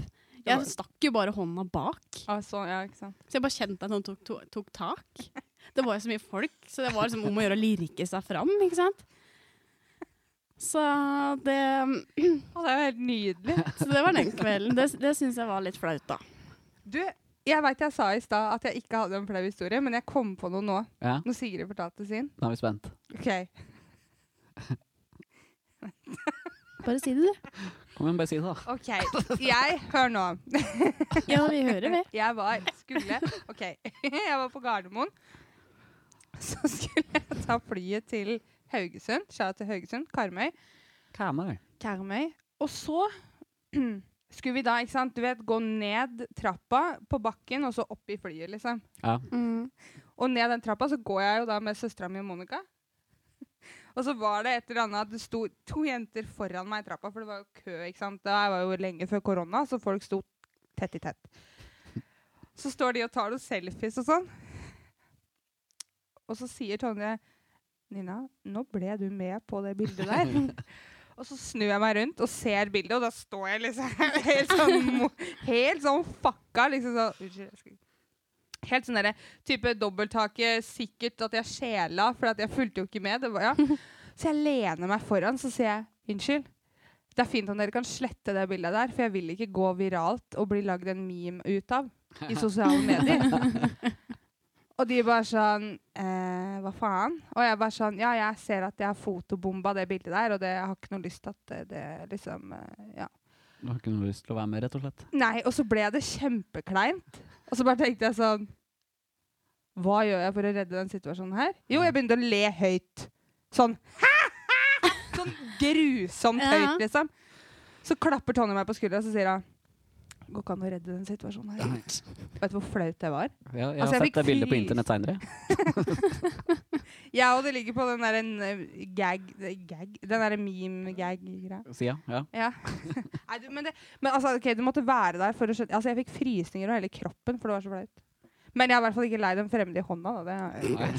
[SPEAKER 2] Det var-
[SPEAKER 3] Jeg stakk jo bare hånda bak.
[SPEAKER 2] Ah, sånn, ja, ikke sant.
[SPEAKER 3] Så jeg bare kjente at noen tok, tok, tok tak. Det var jo så mye folk, så det var liksom om å gjøre å lirke seg fram, ikke sant? Så det
[SPEAKER 2] Å, det er jo helt nydelig.
[SPEAKER 3] Så det var den kvelden. Det, det syns jeg var litt flaut, da.
[SPEAKER 2] Du, jeg veit jeg sa i stad at jeg ikke hadde en flau historie, men jeg kom på noe nå.
[SPEAKER 1] Ja,
[SPEAKER 2] Når Sigrid fortalte sin.
[SPEAKER 1] nå er vi spent.
[SPEAKER 2] OK.
[SPEAKER 3] Bare si det, du.
[SPEAKER 1] Kom igjen, bare si det, da.
[SPEAKER 2] ok. Jeg Hør nå.
[SPEAKER 3] Ja, vi hører, vi.
[SPEAKER 2] Jeg var skulle OK. Jeg var på Gardermoen. Så skulle jeg ta flyet til Haugesund. Skjæra til Haugesund. Karmøy.
[SPEAKER 1] Kamer.
[SPEAKER 2] Karmøy. Og så skulle vi da, ikke sant, du vet, gå ned trappa på bakken og så opp i flyet, liksom.
[SPEAKER 1] Ja.
[SPEAKER 3] Mm.
[SPEAKER 2] Og ned den trappa så går jeg jo da med søstera mi og Monica. Og så var det et eller annet at det sto to jenter foran meg i trappa, for det var jo kø. ikke sant? Det her var jo lenge før korona, så folk sto tett i tett. Så står de og tar noen selfies og sånn. Og så sier Tonje Nina, nå ble du med på det bildet der. og så snur jeg meg rundt og ser bildet, og da står jeg liksom helt sånn, mo- helt sånn fucka. liksom sånn, Unnskyld. jeg skal- Helt sånn derre type dobbelthake, sikkert at jeg sjela, for at jeg fulgte jo ikke med. Det var, ja. Så jeg lener meg foran, så sier jeg unnskyld. Det er fint om dere kan slette det bildet der, for jeg vil ikke gå viralt og bli lagd en meme ut av i sosiale medier. Og de bare sånn eh, Hva faen? Og jeg bare sånn Ja, jeg ser at jeg har fotobomba det bildet der, og det, jeg har ikke noe lyst til at det, det liksom eh, Ja.
[SPEAKER 1] Du har ikke noe lyst til å være med, rett og slett.
[SPEAKER 2] Nei, og så ble det kjempekleint. Og så bare tenkte jeg sånn Hva gjør jeg for å redde den situasjonen her? Jo, jeg begynte å le høyt. Sånn Sånn grusomt
[SPEAKER 3] Ja.
[SPEAKER 2] høyt, liksom. Så klapper Tonje meg på skuldra og så sier hun Går ikke an å redde den situasjonen her. Vet du hvor flaut det var?
[SPEAKER 1] Ja, jeg har
[SPEAKER 2] Altså, jeg
[SPEAKER 1] sett
[SPEAKER 2] fikk
[SPEAKER 1] det bildet på
[SPEAKER 2] frys-
[SPEAKER 1] internett seinere.
[SPEAKER 2] Jeg og det ligger på den der en, eh, gag, gag Den derre meme-gag-greia.
[SPEAKER 1] Sia. Ja.
[SPEAKER 2] Ja. Nei, du, men det, men altså, ok, du måtte være der for å skjønne Altså, jeg fikk frysninger over hele kroppen, for det var så flaut. Men jeg er i hvert fall ikke lei den fremmede i hånda. Da. Det,
[SPEAKER 1] Nei.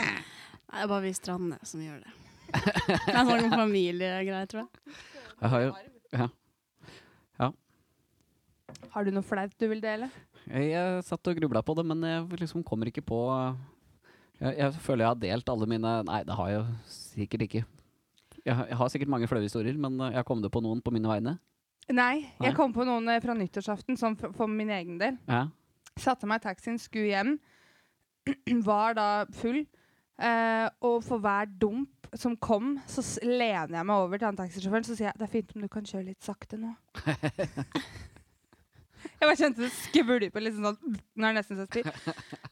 [SPEAKER 3] Nei, det er bare vi strandene som gjør det. Det er sånn familiegreier, tror jeg.
[SPEAKER 1] Jeg har jo
[SPEAKER 2] har du noe flaut du vil dele?
[SPEAKER 1] Jeg, jeg satt og grubla på det, men jeg liksom kommer ikke på jeg, jeg føler jeg har delt alle mine Nei, det har jeg jo sikkert ikke. Jeg, har- jeg har sikkert mange flaue historier, men eh, jeg kom det på noen på mine vegne.
[SPEAKER 2] Nei.
[SPEAKER 1] Nei.
[SPEAKER 2] Jeg kom på noen eh, fra nyttårsaften, sånn for, for min egen del.
[SPEAKER 1] Ja.
[SPEAKER 2] Satte meg i taxien, skulle hjem. Var da full. Eh, og for hver dump som kom, så s- lener jeg meg over til han taxisjåføren så sier jeg, det er fint om du kan kjøre litt sakte nå. jeg bare kjente det skvulpe liksom sånn når jeg nesten så spyr.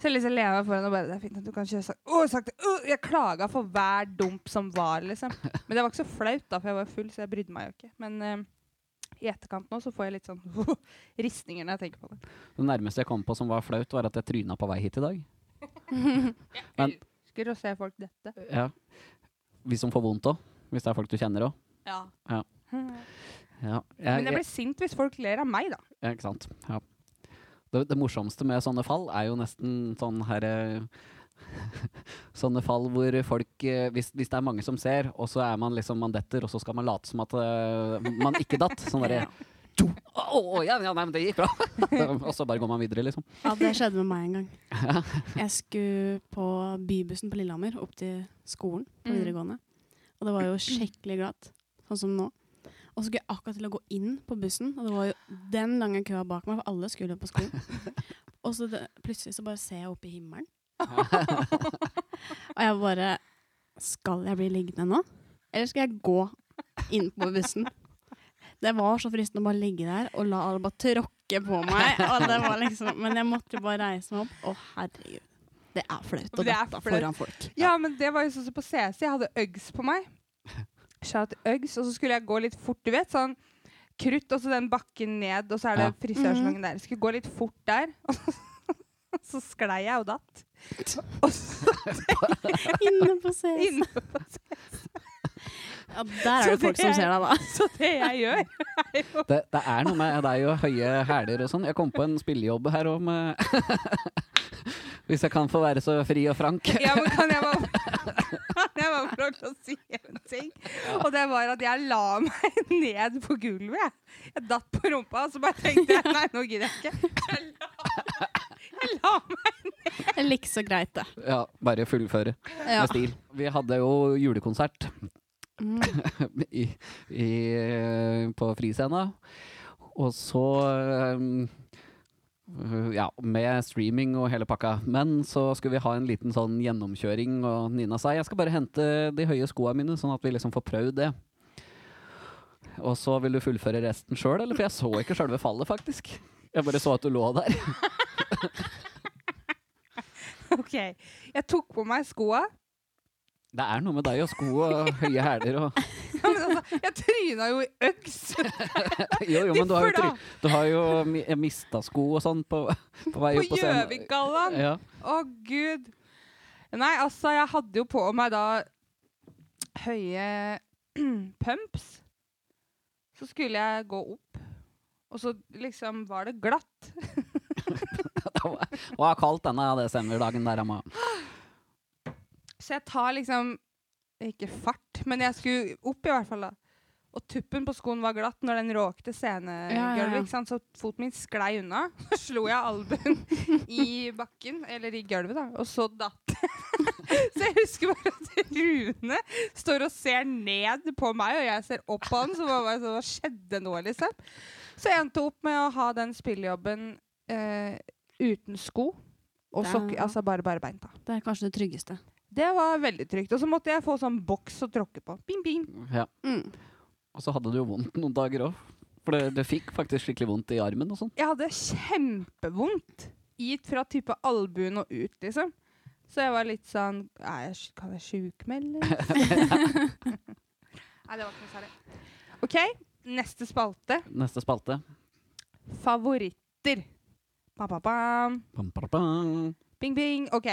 [SPEAKER 2] Så jeg liksom lener meg foran og bare Det er fint om du kan kjøre sakte. Å, sakte. Å, jeg klaga for hver dump som var, liksom. Men det var ikke så flaut, da, for jeg var full, så jeg brydde meg jo ikke. Men eh, i etterkant nå så får jeg litt sånn ristninger når jeg tenker på det.
[SPEAKER 1] Det nærmeste jeg kom på som var flaut, var at jeg tryna på vei hit i dag. Men-
[SPEAKER 2] elsker å se folk dette.
[SPEAKER 1] Ja. Hvis som får vondt òg. Hvis det er folk du kjenner òg.
[SPEAKER 2] Ja.
[SPEAKER 1] Ja. Ja.
[SPEAKER 2] Men
[SPEAKER 1] Jeg,
[SPEAKER 2] jeg
[SPEAKER 1] jeg,
[SPEAKER 2] blir sint hvis folk ler av meg, da.
[SPEAKER 1] ja, ikke sant. Ja. Det, det morsomste med sånne fall er jo nesten sånn her eh, Sånne fall hvor folk eh, hvis, hvis det er mange som ser, og så er man liksom man detter, og så skal man late som at eh, man ikke datt. Sånn derre «Tjo! Å, å, ja, ja, nei, men det gikk bra. og så bare går man videre, liksom.
[SPEAKER 3] Ja, det skjedde med meg en gang. Jeg skulle på bybussen på Lillehammer opp til skolen på
[SPEAKER 2] Mm.
[SPEAKER 3] videregående. Og det var jo skikkelig glatt, sånn som nå. Og så skulle jeg akkurat til å gå inn på bussen, og det var jo den lange køa bak meg, for alle skulle jo på skolen. Og så det, plutselig så bare ser jeg opp i himmelen. og jeg bare Skal jeg bli liggende nå? Eller skal jeg gå inn på bussen? Det var så fristende å bare ligge der og la alle bare tråkke på meg. Og det var liksom, men jeg måtte jo bare reise meg opp. Å, herregud. Det er flaut å
[SPEAKER 2] Det er
[SPEAKER 3] dette
[SPEAKER 2] flaut.
[SPEAKER 3] foran folk.
[SPEAKER 2] Ja, men det var jo sånn som på CC. Jeg hadde Uggs på meg. Shout Uggs. Og så skulle jeg gå litt fort, du vet. Sånn krutt, og så den bakken ned, og så er det
[SPEAKER 1] Ja. Mhm.
[SPEAKER 2] frisørsalongen der. Skulle gå litt fort der. Og så, så sklei jeg og datt. Og så
[SPEAKER 3] Inne på CS.
[SPEAKER 2] inne
[SPEAKER 3] Ja, der er
[SPEAKER 2] Så
[SPEAKER 3] det folk som
[SPEAKER 2] det-
[SPEAKER 3] ser deg, da.
[SPEAKER 2] Så det jeg gjør, er jo
[SPEAKER 1] Det, det er noe med Det er jo høye hæler og sånn. Jeg kom på en spillejobb her om eh, Hvis jeg kan få være så fri og frank.
[SPEAKER 2] Ja, men kan jeg bare, kan jeg bare få lov til å si en ting? Og det var at jeg la meg ned på gulvet. jeg. Jeg datt på rumpa, og så bare tenkte jeg nei, nå gidder jeg ikke. Jeg la, jeg la meg
[SPEAKER 3] Det er like så greit, det.
[SPEAKER 1] Ja, bare fullføre.
[SPEAKER 3] Ja.
[SPEAKER 1] med stil. Vi hadde jo julekonsert
[SPEAKER 3] Mm.
[SPEAKER 1] i, i, på Friscena. Og så um, Ja, med streaming og hele pakka. Men så skulle vi ha en liten sånn gjennomkjøring, og Nina sa jeg skal bare hente de høye skoa mine, sånn at vi liksom får prøvd det. Og så vil du fullføre resten sjøl, eller? For jeg så ikke sjølve fallet, faktisk. Jeg bare så at du lå der.
[SPEAKER 2] OK. Jeg tok på meg skoa.
[SPEAKER 1] Det er noe med deg og sko og høye hæler og
[SPEAKER 2] Ja, men altså, jeg tryna jo i Uggs.
[SPEAKER 1] Jo, jo, men du har jo, try
[SPEAKER 2] Differ, da.
[SPEAKER 1] du har jo mi- mista sko og sånn på, på vei
[SPEAKER 2] På
[SPEAKER 1] opp på scenen.
[SPEAKER 2] Gjøvikgallaen.
[SPEAKER 1] Ja.
[SPEAKER 2] Å, gud. Nei, altså, jeg hadde jo på meg da høye pumps, så skulle jeg gå opp. Og så liksom var det glatt.
[SPEAKER 1] Og har kalt denne desemberdagen der, Emma.
[SPEAKER 2] Så jeg tar liksom Ikke fart, men jeg skulle opp i hvert fall, da. Og tuppen på skoen var glatt når den råkte
[SPEAKER 3] Ja, ja, ja.
[SPEAKER 2] scenegulvet, ikke sant? så foten min sklei unna. Så slo jeg albuen i bakken, eller i gulvet, da, og så datt jeg. Så jeg husker bare at Rune står og ser ned på meg, og jeg ser opp på han, så bare sånn, hva skjedde nå, liksom? Så jeg endte opp med å ha den spillejobben eh, uten sko og sokker,
[SPEAKER 3] Da-
[SPEAKER 2] altså bare bare beint, da.
[SPEAKER 3] Det er kanskje det tryggeste.
[SPEAKER 2] Det var veldig trygt. Og så måtte jeg få sånn boks å tråkke på. Bing, bing.
[SPEAKER 1] Ja.
[SPEAKER 3] Mm.
[SPEAKER 1] Og så hadde du jo vondt noen dager òg. For det, det fikk faktisk skikkelig vondt i armen og sånn.
[SPEAKER 2] Jeg hadde kjempevondt i fra type albuen og ut, liksom. Så jeg var litt sånn Er jeg, sj- Kan jeg sjukmelde? Nei, det var ikke noe særlig. OK, neste spalte.
[SPEAKER 1] Neste spalte.
[SPEAKER 2] Favoritter. Ba, ba, bam.
[SPEAKER 1] Pam, pam, pam.
[SPEAKER 2] Bing, bing. OK.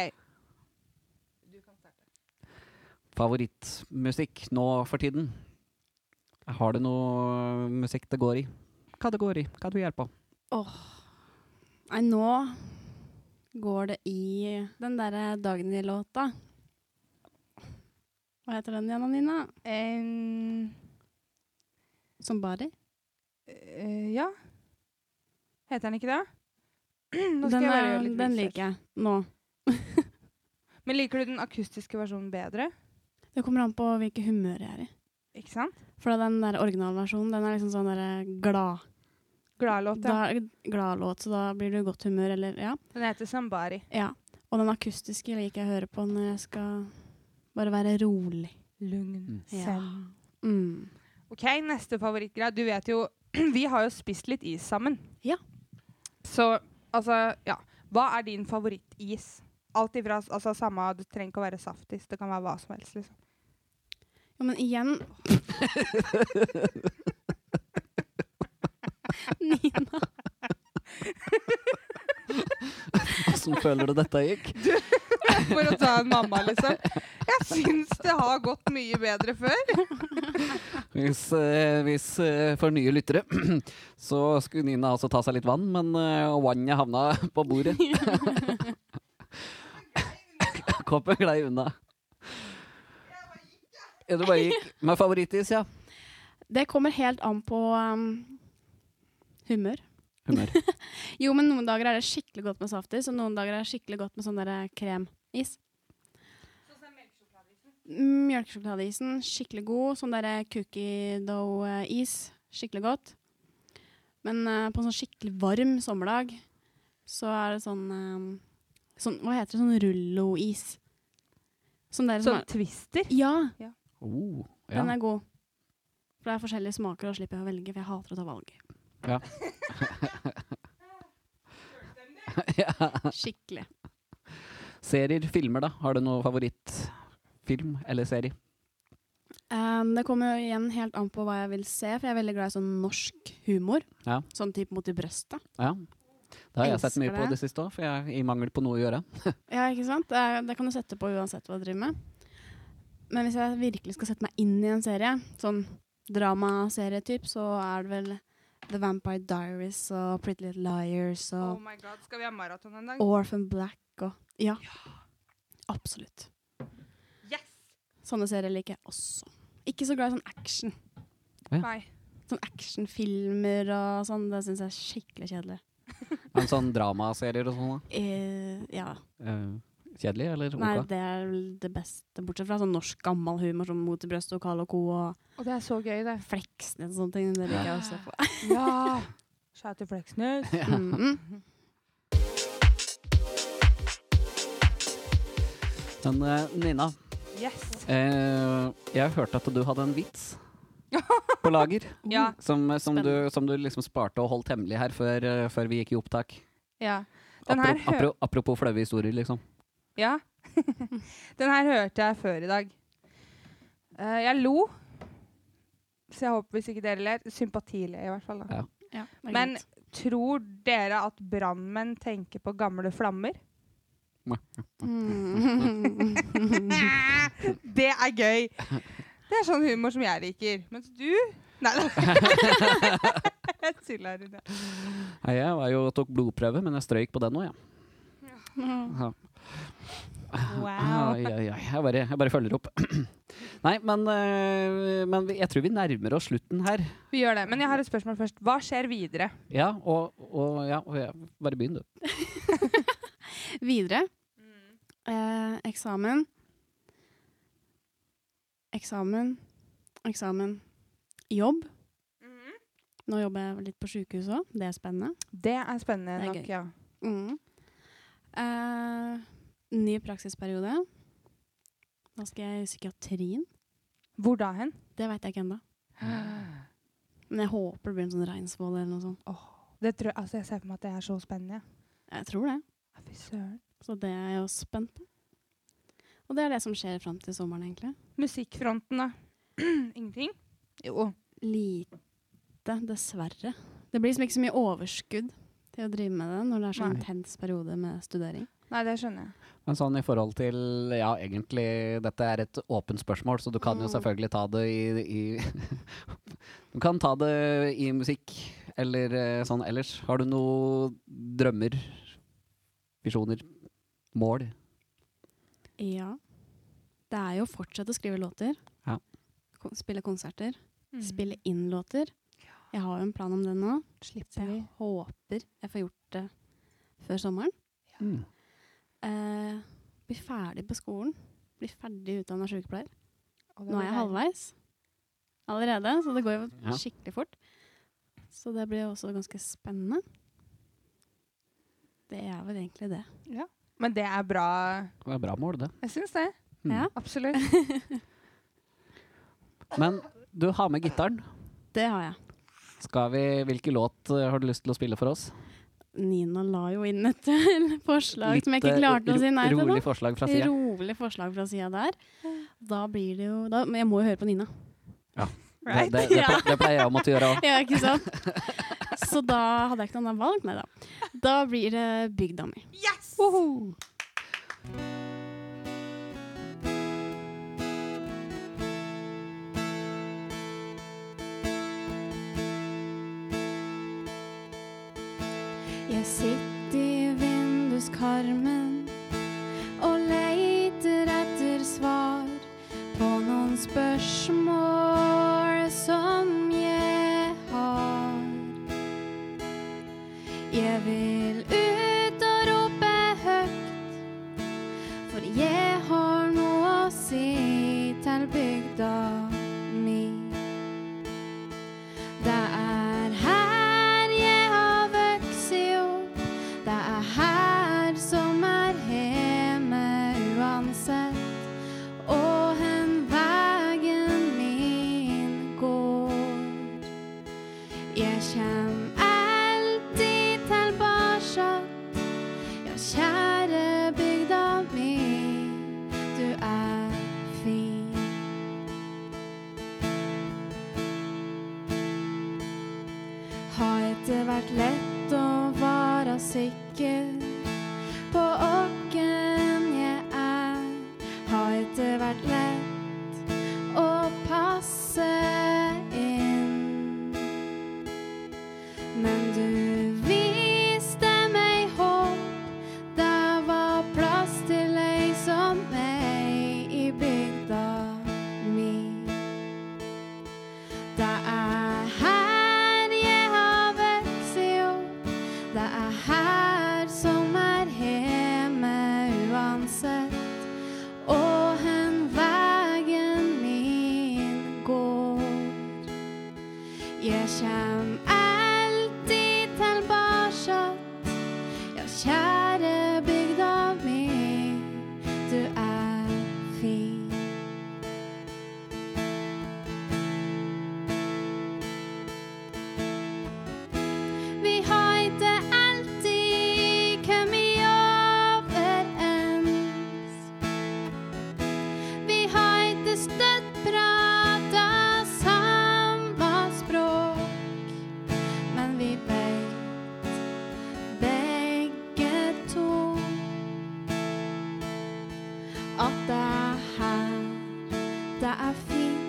[SPEAKER 1] Favorittmusikk nå for tiden. Har du noe musikk det går i? Hva det går i? Hva du hjelper på?
[SPEAKER 3] Nei, nå går det i den derre Dagny-låta. Hva heter den igjen, Nina?
[SPEAKER 2] Em,
[SPEAKER 3] Som Bari?
[SPEAKER 2] eh, ja. Heter den ikke det? Nå skal
[SPEAKER 3] Den,
[SPEAKER 2] eh, jeg bare
[SPEAKER 3] er,
[SPEAKER 2] gjøre litt
[SPEAKER 3] den
[SPEAKER 2] research.
[SPEAKER 3] liker jeg nå.
[SPEAKER 2] Men liker du den akustiske versjonen bedre?
[SPEAKER 3] Det kommer an på hvilket humør jeg er i.
[SPEAKER 2] Ikke sant?
[SPEAKER 3] For den der originalversjonen den er liksom sånn derre glad.
[SPEAKER 2] Gladlåt, ja.
[SPEAKER 3] Da er det Gladlåt, så da blir du i godt humør, eller ja.
[SPEAKER 2] Den heter Sambari.
[SPEAKER 3] ja. Og den akustiske liker jeg å høre på når jeg skal bare være rolig.
[SPEAKER 2] Lugn.
[SPEAKER 3] Ja.
[SPEAKER 2] Zen.
[SPEAKER 3] Mm.
[SPEAKER 2] OK, neste favorittgreie. Du vet jo Vi har jo spist litt is sammen.
[SPEAKER 3] Ja.
[SPEAKER 2] Så altså, ja. Hva er din favorittis? Alt ifra altså, samme Det trenger ikke å være saftis. Det kan være hva som helst, liksom.
[SPEAKER 3] Ja, men igjen Nina.
[SPEAKER 1] Åssen føler du dette gikk?
[SPEAKER 2] For å ta en mamma, liksom. Jeg syns det har gått mye bedre før.
[SPEAKER 1] Hvis, eh, hvis eh, for nye lyttere, så skulle Nina altså ta seg litt vann, men eh, vannet havna på bordet. Koppen glei unna. Ja, du bare gikk. Med favorittis, ja.
[SPEAKER 3] Det kommer helt an på um, humør.
[SPEAKER 1] Humør.
[SPEAKER 3] Jo, men noen dager er det skikkelig godt med saftis, og noen dager er det skikkelig godt med sånn derre kremis. Mm, Melkesjokoladeisen, skikkelig god. Sånn derre cookie dough-is, skikkelig godt. Men eh, på en sånn skikkelig varm sommerdag, så er det sånn, eh, sånn Hva heter det? Sånn rullo-is. Sånn derre som
[SPEAKER 2] Sånn twister.
[SPEAKER 3] er Ja,
[SPEAKER 1] Oh, ja.
[SPEAKER 3] den er god. For det er forskjellige smaker, og da slipper jeg å velge, for jeg hater å ta valg.
[SPEAKER 1] ja.
[SPEAKER 3] Skikkelig.
[SPEAKER 1] Serier, filmer, da? Har du noe favorittfilm eller serie?
[SPEAKER 3] Um, det kommer jo igjen helt an på hva jeg vil se, for jeg er veldig glad i sånn norsk humor.
[SPEAKER 1] Ja.
[SPEAKER 3] Sånn type mot i brøstet.
[SPEAKER 1] Ja. Det har jeg sett mye
[SPEAKER 3] Elsker
[SPEAKER 1] på
[SPEAKER 3] det.
[SPEAKER 1] det siste òg, for jeg i mangel på noe å gjøre.
[SPEAKER 3] Ja, ikke sant? Det, er- det kan du sette på uansett hva du driver med. Men hvis jeg virkelig skal sette meg inn i en serie, sånn dramaserietyp, så er det vel The Vampire Diaries og Pretty Little Liars
[SPEAKER 2] Oh
[SPEAKER 3] og
[SPEAKER 2] my god, skal vi ha maraton en dag?
[SPEAKER 3] Orphan Black og Mm. Ja. Absolutt.
[SPEAKER 2] Yes!
[SPEAKER 3] Sånne serier liker jeg også. Ikke så glad i sånn action.
[SPEAKER 2] Nei.
[SPEAKER 3] Sånn actionfilmer og sånn, det syns jeg er skikkelig kjedelig.
[SPEAKER 1] Men sånn dramaserier og sånn, da?
[SPEAKER 3] Eh, ja.
[SPEAKER 1] Eh, Kjedelig, eller
[SPEAKER 3] Nei,
[SPEAKER 1] ok?
[SPEAKER 3] det er vel det beste, bortsett fra sånn norsk gammel humor som Mot i brøst og Karl og Co. og
[SPEAKER 2] Og det er så gøy, det.
[SPEAKER 3] Fleksnes og sånne ting. Det liker jeg også på.
[SPEAKER 2] Ja! Shout til Fleksnes.
[SPEAKER 3] Mm.
[SPEAKER 1] Men eh, Nina,
[SPEAKER 2] Yes.
[SPEAKER 1] eh, jeg hørte at du hadde en vits på lager.
[SPEAKER 3] Mm.
[SPEAKER 2] Ja.
[SPEAKER 1] Som, eh, som, du,
[SPEAKER 3] Spennende.
[SPEAKER 1] som du liksom sparte og holdt hemmelig her før, eh, før vi gikk i opptak.
[SPEAKER 2] Ja. Den her, hø
[SPEAKER 1] Apro, apro, apropos flaue historier, liksom.
[SPEAKER 2] ja. den her hørte jeg før i dag. Eh, jeg lo. Så jeg håper hvis ikke dere ler, sympatiler i hvert fall.
[SPEAKER 1] Ja.
[SPEAKER 2] da.
[SPEAKER 3] Ja, det er
[SPEAKER 2] Men
[SPEAKER 3] greit.
[SPEAKER 2] tror dere at brannmenn tenker på gamle flammer?
[SPEAKER 3] mm.
[SPEAKER 2] Det er gøy! Det er sånn humor som jeg liker. Mens du Nei, nei. jeg tuller. Rune.
[SPEAKER 1] Nei, jeg var jo, tok blodprøve, men jeg strøyk på den òg, jeg. Ja.
[SPEAKER 2] Wow.
[SPEAKER 1] Ai, ai, ai. Jeg, bare, jeg bare følger opp. Nei, men, eh, men vi- jeg tror vi nærmer oss slutten her.
[SPEAKER 2] Vi gjør det. Men jeg har et spørsmål først. Hva skjer videre?
[SPEAKER 1] Ja, og, og ja, og ja, bare begynn, du.
[SPEAKER 3] Videre. Eh, eksamen. Eksamen. Eksamen. Jobb. Nå jobber jeg litt på sjukehus òg. Det er spennende.
[SPEAKER 2] Det er spennende
[SPEAKER 3] Det er
[SPEAKER 2] nok,
[SPEAKER 3] gøy.
[SPEAKER 2] ja.
[SPEAKER 3] Mm. Eh, ny praksisperiode. Da skal jeg i psykiatrien.
[SPEAKER 2] Hvor da hen?
[SPEAKER 3] Det veit jeg ikke ennå. Men jeg håper det blir en sånn Reinsvoll eller noe sånt.
[SPEAKER 2] Det tror jeg, altså jeg ser for meg at det er så spennende.
[SPEAKER 3] Jeg tror det.
[SPEAKER 2] Ja, Fy søren.
[SPEAKER 3] Så det er jeg jo spent på. Og det er det som skjer fram til sommeren, egentlig.
[SPEAKER 2] Musikkfronten, da? Ingenting? Jo.
[SPEAKER 3] Lite, dessverre. Det blir liksom ikke så mye overskudd til å drive med det når det er så
[SPEAKER 1] Nei.
[SPEAKER 3] intens periode med studering.
[SPEAKER 2] Nei, det skjønner jeg.
[SPEAKER 1] Men sånn i forhold til Ja, egentlig, dette er et åpent spørsmål, så du kan jo
[SPEAKER 3] Mm.
[SPEAKER 1] selvfølgelig ta det i, i Du kan ta det i musikk eller eh, sånn ellers. Har du noen drømmer? Visjoner? Mål?
[SPEAKER 3] Ja. Det er jo fortsatt å skrive låter.
[SPEAKER 1] Ja.
[SPEAKER 3] Kon- Spille konserter.
[SPEAKER 2] Mm.
[SPEAKER 3] Spille inn låter. Jeg har jo en plan om det nå, så
[SPEAKER 2] Slipper vi.
[SPEAKER 3] jeg håper jeg får gjort det før sommeren.
[SPEAKER 1] Mm.
[SPEAKER 3] Eh, bli ferdig på skolen. Bli ferdig utdanna sykepleier.
[SPEAKER 2] Og det
[SPEAKER 3] Nå
[SPEAKER 2] var
[SPEAKER 3] er jeg
[SPEAKER 2] deilig.
[SPEAKER 3] halvveis allerede, så det går jo
[SPEAKER 1] Ja.
[SPEAKER 3] skikkelig fort. Så det blir jo også ganske spennende. Det er vel egentlig det.
[SPEAKER 2] Men det er bra.
[SPEAKER 1] Det er bra mål, det.
[SPEAKER 2] Jeg syns det.
[SPEAKER 1] Mm.
[SPEAKER 3] Ja.
[SPEAKER 2] Absolutt.
[SPEAKER 1] Men du har med gitaren.
[SPEAKER 3] Det har jeg.
[SPEAKER 1] Skal vi, hvilke låt eh, har du lyst til å spille for oss?
[SPEAKER 3] Nina la jo inn et forslag som jeg ikke
[SPEAKER 1] eh,
[SPEAKER 3] klarte
[SPEAKER 1] ro-
[SPEAKER 3] å si nei til.
[SPEAKER 1] Rolig
[SPEAKER 3] da.
[SPEAKER 1] forslag fra sida.
[SPEAKER 3] Rolig forslag fra sida der. Da blir det jo da, Men jeg må jo høre på Nina.
[SPEAKER 1] Det,
[SPEAKER 2] Right?
[SPEAKER 1] det, det,
[SPEAKER 3] Ja.
[SPEAKER 1] ple- det pleier jeg å måtte gjøre òg.
[SPEAKER 3] Ja, ikke sant? Så da hadde jeg ikke noe annet valg. Nei da. Da blir det bygda mi.
[SPEAKER 2] Yes!
[SPEAKER 3] Jeg sitter i vinduskarmen og leiter etter svar på noen spørsmål som jeg har. Jeg vil ut og rope høyt, for jeg har noe å si til bygda mi. Det er her jeg har vokst opp. Det er her som er hjemme uansett. Og hen veien min går. Jeg kjem alltid tilbake. Ja, kjære bygda mi, du er fin. Har ikke vært lett å være sikker på åkken jeg er. Har ikke vært lett å passe inn. Men du viste meg håp, det var plass til ei som meg i bygda mi. Det er her jeg har vokst opp. Det er her som er hjemme uansett. Og hen veien min går. Jeg kjem alltid tilbake. Ja, kjære bygda mi, du er fin. Vi har ikke alltid kommet overens. Vi har ikke støtt prata samme språk. Men vi veit begge to at det er her det er fint.